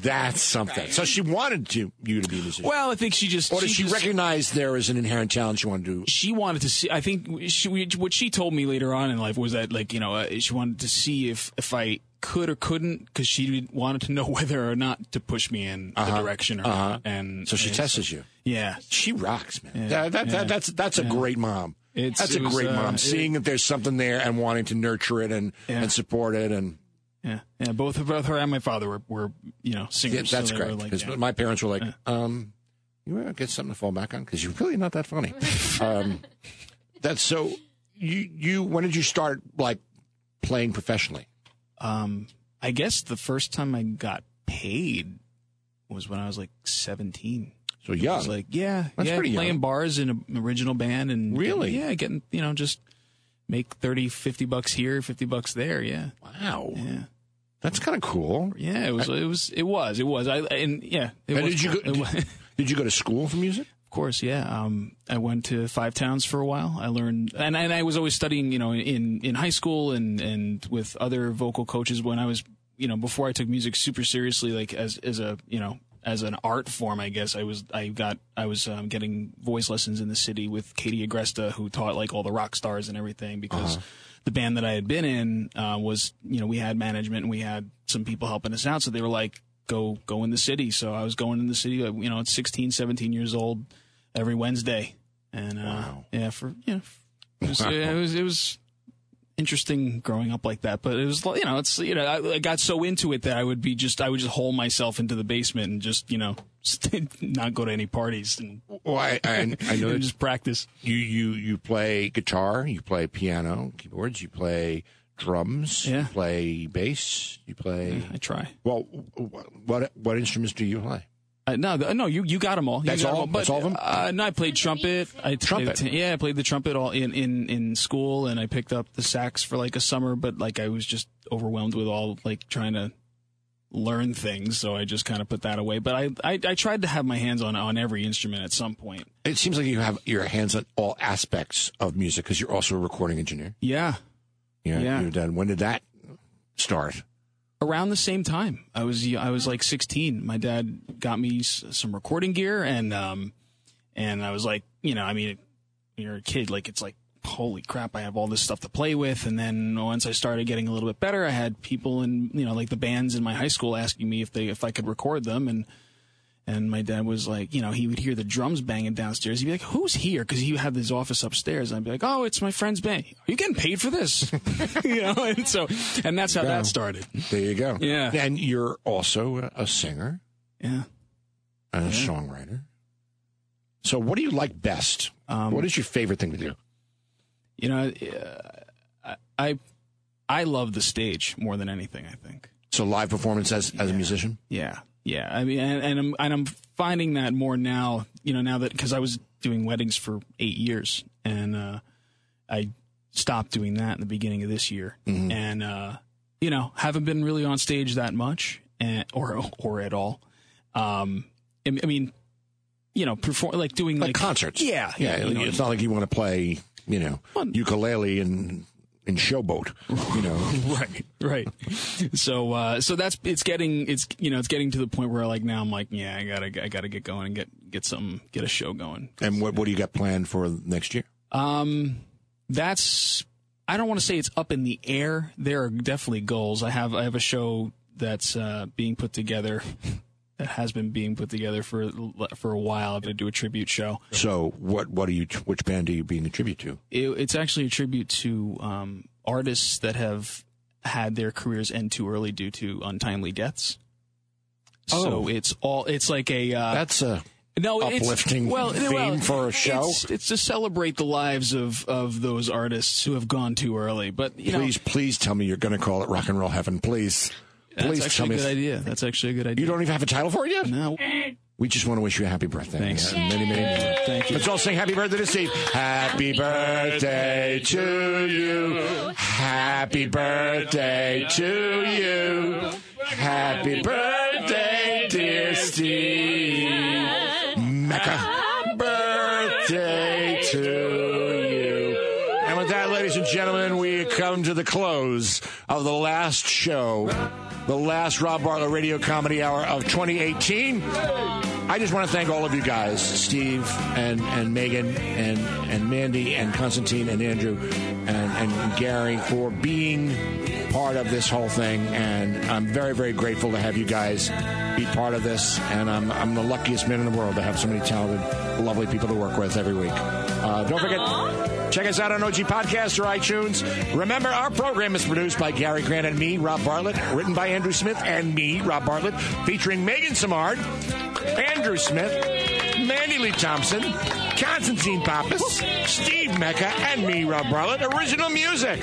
Speaker 3: That's something. So she wanted to you to be a musician.
Speaker 7: Well, I think she just,
Speaker 3: or did she,
Speaker 7: just-
Speaker 3: recognize there was an inherent talent she wanted to?
Speaker 7: she wanted to see. I think she, we- what she told me later on in life was that, like, you know, uh, she wanted to see if if I could or couldn't, because she wanted to know *laughs* whether or not to push me in the direction or not. And
Speaker 3: So she
Speaker 7: and
Speaker 3: tested you.
Speaker 7: Yeah,
Speaker 3: She rocks, man. that, that,
Speaker 7: yeah.
Speaker 3: that, that's that's a great mom.
Speaker 7: It's-
Speaker 3: that's a
Speaker 7: it was,
Speaker 3: great
Speaker 7: uh,
Speaker 3: mom.
Speaker 7: it-
Speaker 3: Seeing that there's something there and wanting to nurture it and,
Speaker 7: Yeah.
Speaker 3: and support it, and
Speaker 7: yeah, yeah. Both both her and my father were, were you know
Speaker 3: yeah,
Speaker 7: singers. so
Speaker 3: that's
Speaker 7: they were
Speaker 3: great.
Speaker 7: like,
Speaker 3: Because
Speaker 7: yeah.
Speaker 3: my parents were like, um, "You want to get something to fall back on because you're really not that *laughs* funny." um, that's so. You you when did you start like playing professionally?
Speaker 7: um, I guess the first time I got paid was when I was like seventeen.
Speaker 3: So
Speaker 7: I
Speaker 3: young.
Speaker 7: was like, yeah,
Speaker 3: Oh, That's
Speaker 7: yeah,
Speaker 3: pretty
Speaker 7: playing
Speaker 3: young.
Speaker 7: bars in an original band and
Speaker 3: Really?
Speaker 7: yeah, getting you know just make 30 50 bucks here 50 bucks there yeah
Speaker 3: wow,
Speaker 7: yeah
Speaker 3: that's kind of cool.
Speaker 7: yeah it was it was it was it was i and yeah it
Speaker 3: And
Speaker 7: was
Speaker 3: did you
Speaker 7: cool.
Speaker 3: go-
Speaker 7: It wa-
Speaker 3: Did you go to school for music?
Speaker 7: Of course, yeah. Um, I went to five towns for a while. I learned, and, and I was always studying, you know, in, in high school and, and with other vocal coaches when I was, you know, before I took music super seriously, like as, as a, you know, as an art form, I guess I was, I got, I was um, getting voice lessons in the city with Katie Agresta, who taught like all the rock stars and everything because the band that I had been in, uh, was, you know, we had management and we had some people helping us out. So they were like, go go in the city. So I was going in the city, like, you know, at 16, 17 years old, every Wednesday, and uh, yeah, for yeah, it was, it was it was interesting growing up like that. But it was you know, it's you know, I, I got so into it that I would be just I would just hole myself into the basement and just you know, *laughs* not go to any parties and,
Speaker 3: Well, I, I, I know
Speaker 7: and
Speaker 3: that
Speaker 7: just practice.
Speaker 3: you, you, you play guitar, you play piano, keyboards, you play drums, you
Speaker 7: Yeah.
Speaker 3: play bass, you play.
Speaker 7: I try.
Speaker 3: Well, wh- what what instruments do you play?
Speaker 7: Uh, no, th- no, you you got them all. You
Speaker 3: That's
Speaker 7: got 'em
Speaker 3: all-
Speaker 7: But,
Speaker 3: that's all of 'em?
Speaker 7: Uh, no, I played trumpet. I played
Speaker 3: Trumpet.
Speaker 7: the tin- yeah, I played the trumpet all in, in in school, and I picked up the sax for like a summer. But like, I was just overwhelmed with all like trying to learn things, so I just kind of put that away. But I, I I tried to have my hands on on every instrument at some point.
Speaker 3: It seems like you have your hands on all aspects of music because you're also a recording engineer.
Speaker 7: Yeah,
Speaker 3: Yeah,
Speaker 7: Yeah.
Speaker 3: you've done. When did that start?
Speaker 7: around the same time. I was I was like 16. My dad got me s- some recording gear and um and I was like, you know, I mean, when you're a kid, like it's like holy crap, I have all this stuff to play with. And then once I started getting a little bit better, I had people in you know like the bands in my high school asking me if they if I could record them and. And my dad was like, you know, he would hear the drums banging downstairs. He'd be like, "Who's here?" Because he had his office upstairs. And I'd be like, "Oh, it's my friend's band. Are you getting paid for this?" *laughs* you know, and so, and that's how that started.
Speaker 3: There you go.
Speaker 7: Yeah.
Speaker 3: And you're also a- a singer
Speaker 7: Yeah.
Speaker 3: and a songwriter. So, what do you like best?
Speaker 7: Um,
Speaker 3: what is your favorite thing to do?
Speaker 7: You know, uh, I, I I love the stage more than anything. I think.
Speaker 3: So, live performance as, as a musician?
Speaker 7: Yeah, yeah. I mean, and, and I'm and I'm finding that more now. You know, now that because I was doing weddings for eight years, and uh, I stopped doing that in the beginning of this year, and uh, you know, haven't been really on stage that much, and, or or at all. Um, I I mean, you know, perform like doing
Speaker 3: Like,
Speaker 7: like,
Speaker 3: concerts.
Speaker 7: Yeah,
Speaker 3: Yeah.
Speaker 7: you know,
Speaker 3: it's not like you want to play, you know,
Speaker 7: Well-
Speaker 3: ukulele and, and showboat, you know.
Speaker 7: *laughs* right right so uh so that's it's getting it's you know it's getting to the point where like now i'm like yeah i gotta i gotta get going and get get some get a show going
Speaker 3: and what, what do you got planned for next year?
Speaker 7: um that's i don't want to say it's up in the air there are definitely goals i have i have a show that's uh being put together *laughs* that has been being put together for for a while i'm gonna do a tribute show
Speaker 3: So, what, what are you, which band are you being a tribute to?
Speaker 7: it, it's actually a tribute to um, artists that have had their careers end too early due to untimely deaths.
Speaker 3: Oh.
Speaker 7: So it's all it's like a uh,
Speaker 3: That's a,
Speaker 7: no
Speaker 3: uplifting
Speaker 7: it's, well,
Speaker 3: theme
Speaker 7: well,
Speaker 3: for a show.
Speaker 7: It's, it's to celebrate the lives of of those artists who have gone too early. But you
Speaker 3: please, please tell me you're going to call it Rock and Roll Heaven. Please.
Speaker 7: know, that's
Speaker 3: Please tell
Speaker 7: actually
Speaker 3: me.
Speaker 7: a good
Speaker 3: if-
Speaker 7: idea. That's actually a good idea.
Speaker 3: You don't even have a title for it yet?
Speaker 7: no,
Speaker 3: We just want to wish you a happy birthday.
Speaker 7: Thanks.
Speaker 3: Yeah, many, many, many.
Speaker 7: thank you.
Speaker 3: Let's all sing happy birthday to Steve. Happy birthday to you. Happy birthday to you. Happy birthday, dear Steve. Mecca. Birthday to you. And with that, ladies and gentlemen, we come to the close of the last show, the last Rob Barlow Radio Comedy Hour of 2018. I just want to thank all of you guys, Steve and, and Megan and, and Mandy and Constantine and Andrew and, and Gary for being part of this whole thing. And I'm very, very grateful to have you guys be part of this. And I'm, I'm the luckiest man in the world to have so many talented, lovely people to work with every week. Uh, don't forget. Check us out on OG Podcast or iTunes. Remember, our program is produced by Gary Grant and me, Rob Bartlett, written by Andrew Smith and me, Rob Bartlett, featuring Megan Samard, Andrew Smith, Mandy Lee Thompson, Constantine Pappas, Steve Mecca, and me, Rob Bartlett. Original music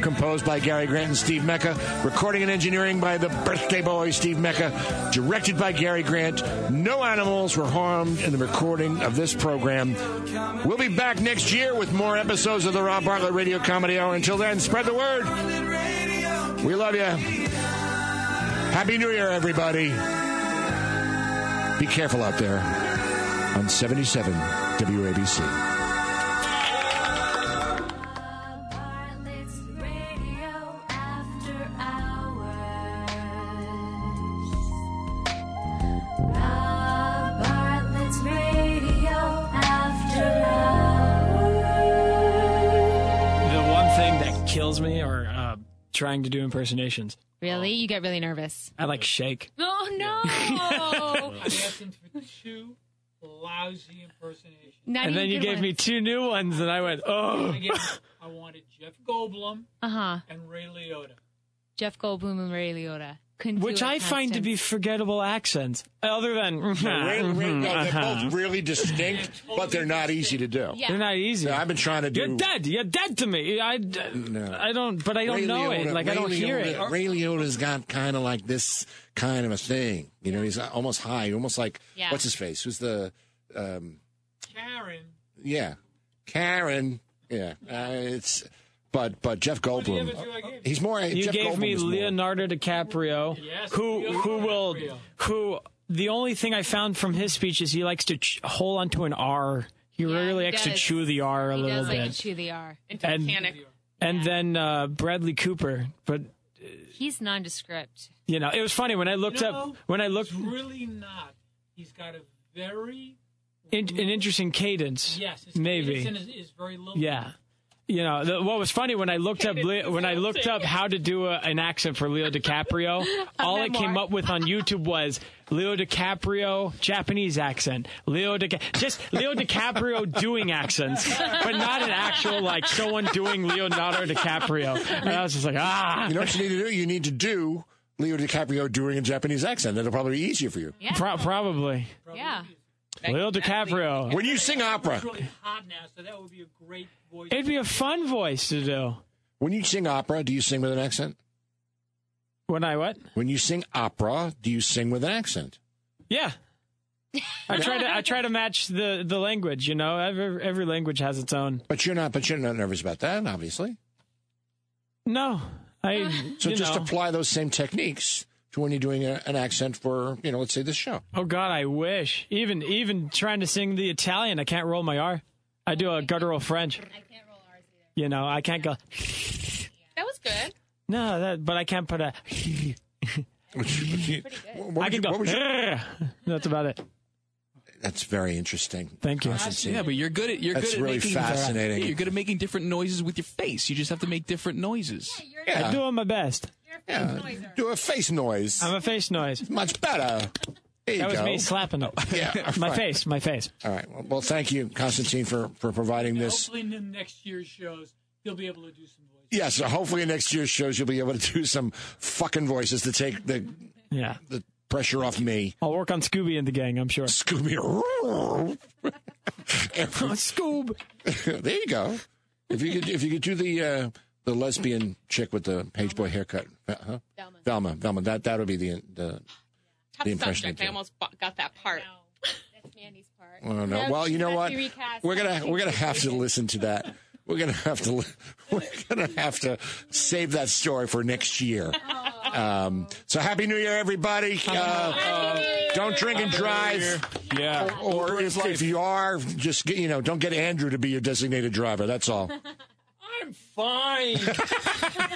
Speaker 3: composed by Gary Grant and Steve Mecca. Recording and engineering by the birthday boy, Steve Mecca. Directed by Gary Grant. No animals were harmed in the recording of this program. We'll be back next year with more episodes of the Rob Bartlett Radio Comedy Hour. Until then, spread the word. We love you. Happy New Year, everybody. Be careful out there on 77 WABC.
Speaker 11: Bartlett's Radio After Hours. Rob Bartlett's Radio After Hours.
Speaker 8: The one thing that kills me are uh, trying to do impersonations.
Speaker 6: Really? You get really nervous.
Speaker 8: I like shake.
Speaker 6: Oh, no. *laughs*
Speaker 10: for two lousy impersonations.
Speaker 6: Not
Speaker 8: and then
Speaker 6: even
Speaker 8: you
Speaker 6: good
Speaker 8: gave me
Speaker 6: ones.
Speaker 8: two new ones, and I went, oh.
Speaker 10: I wanted Jeff Goldblum
Speaker 6: Uh-huh.
Speaker 10: and Ray Liotta.
Speaker 6: Jeff Goldblum and Ray Liotta. Couldn't
Speaker 8: *laughs* Which
Speaker 6: do it
Speaker 8: I find to be
Speaker 6: constant.
Speaker 8: forgettable accents, other than. *laughs*
Speaker 3: Ray- Ray-
Speaker 8: Mm-hmm.
Speaker 3: no, they're
Speaker 8: Uh-huh.
Speaker 3: both really distinct, but they're not easy to do.
Speaker 6: Yeah.
Speaker 8: They're not easy.
Speaker 3: Now, I've been trying to do.
Speaker 8: You're dead. You're dead to me. I, I don't, but I don't
Speaker 3: Ray
Speaker 8: know it.
Speaker 3: Liotta-
Speaker 8: Like,
Speaker 3: Ray
Speaker 8: I don't hear
Speaker 3: Liotta-
Speaker 8: it.
Speaker 3: Ray Liotta's got kind of like this kind of a thing. You know, he's almost high, almost like
Speaker 6: Yeah.
Speaker 3: what's his face? Who's the um,
Speaker 10: Karen.
Speaker 3: yeah, Karen? Yeah, uh, it's but but Jeff Goldblum. He's more.
Speaker 8: You
Speaker 3: Jeff
Speaker 8: gave
Speaker 3: Goldblum
Speaker 8: me
Speaker 3: is more-
Speaker 8: Leonardo DiCaprio,
Speaker 10: Yes,
Speaker 8: who
Speaker 10: Leonardo
Speaker 8: who will
Speaker 10: DiCaprio.
Speaker 8: who the only thing I found from his speech is he likes to ch- hold onto an R. He
Speaker 6: Yeah,
Speaker 8: really
Speaker 6: he
Speaker 8: likes to
Speaker 6: does.
Speaker 8: chew the R a
Speaker 6: He
Speaker 8: little
Speaker 6: does like
Speaker 8: bit.
Speaker 6: to chew the R.
Speaker 8: and
Speaker 5: Panic.
Speaker 8: and then uh, Bradley Cooper, but
Speaker 6: He's nondescript.
Speaker 8: you know it was funny when I looked up
Speaker 10: know,
Speaker 8: when I looked
Speaker 10: It's really not. He's got a very
Speaker 8: in, an interesting cadence.
Speaker 10: yes. His
Speaker 8: maybe.
Speaker 10: cadence Is, is very low.
Speaker 8: Yeah. You know, the, what was funny when I looked up Le- when I looked up how to do a, an accent for
Speaker 10: *laughs*
Speaker 8: Leo DiCaprio, all it came up with on YouTube was Leo DiCaprio Japanese accent, Leo Di- just
Speaker 10: *laughs*
Speaker 8: Leo DiCaprio doing accents, but not an actual like someone doing Leonardo DiCaprio. And I was just like, ah,
Speaker 3: You know what you need to do? You need to do Leo DiCaprio doing a Japanese accent. That'll probably be easier for you.
Speaker 8: pro- probably
Speaker 6: Yeah.
Speaker 8: Leo DiCaprio.
Speaker 3: When you sing opera,
Speaker 10: It's really hot now, so that would be a great voice.
Speaker 8: It'd be a fun voice to do.
Speaker 3: when you sing opera, do you sing with an accent?
Speaker 8: When I what?
Speaker 3: When you sing opera, do you sing with an accent?
Speaker 8: Yeah. I try to I try to match the, the language, you know. Every every language has its own.
Speaker 3: But you're not. But you're not nervous about that, obviously.
Speaker 8: No.
Speaker 6: *laughs*
Speaker 8: I
Speaker 3: So
Speaker 8: you
Speaker 3: just
Speaker 8: know.
Speaker 3: apply those same techniques to when you're doing a, an accent for, you know, let's say this show.
Speaker 8: Oh god, I wish. Even even trying to sing the Italian, I can't roll my R. I do a guttural French.
Speaker 6: I can't roll R's either.
Speaker 8: You know, I can't go
Speaker 5: That was good.
Speaker 8: no, that but I can't put a
Speaker 3: What you- what would
Speaker 8: I can
Speaker 3: you-
Speaker 8: go
Speaker 3: what would you-
Speaker 8: That's about it.
Speaker 3: that's very interesting.
Speaker 8: Thank you.
Speaker 3: Constancy.
Speaker 12: Yeah, but you're good at you're
Speaker 3: That's
Speaker 12: good at
Speaker 3: really
Speaker 12: making,
Speaker 3: fascinating.
Speaker 12: Yeah, you're good at making different noises with your face. You just have to make different noises.
Speaker 3: Yeah.
Speaker 8: I'm doing my best.
Speaker 3: Yeah. Do a face noise.
Speaker 8: I'm a face noise.
Speaker 3: Much better. There you
Speaker 8: That was
Speaker 3: go.
Speaker 8: me slapping it. *laughs*
Speaker 3: Yeah.
Speaker 8: My
Speaker 3: right.
Speaker 8: face, my face.
Speaker 3: All right. Well, well, thank you, Constantine, for, for providing this.
Speaker 10: Hopefully, in the next year's shows, he'll be able to do some voices.
Speaker 3: Yeah, so hopefully next year's shows you'll be able to do some fucking voices to take the,
Speaker 8: Yeah.
Speaker 3: the pressure off me.
Speaker 8: I'll work on Scooby and the gang, I'm
Speaker 3: *laughs*
Speaker 8: sure.
Speaker 3: Scooby.
Speaker 12: Scoob.
Speaker 3: *laughs* there you go. If you could, if you could do the uh, the lesbian chick with the page boy haircut, Uh, huh? Velma, Velma, That that would be the the.
Speaker 5: Tough
Speaker 3: The impression
Speaker 5: subject.
Speaker 3: it
Speaker 5: I
Speaker 3: did.
Speaker 5: almost bu- got that part.
Speaker 6: That's Mandy's part.
Speaker 3: I don't know. well, you know what? We're gonna we're gonna have to listen to that. We're gonna have to li- *laughs* we're gonna have to save that story for next year. Um, so happy New Year, everybody! Uh, don't drink and drive.
Speaker 7: Yeah.
Speaker 3: Or if, if you are, just get, you know, don't get Andrew to be your designated driver. That's all.
Speaker 10: I'm fine.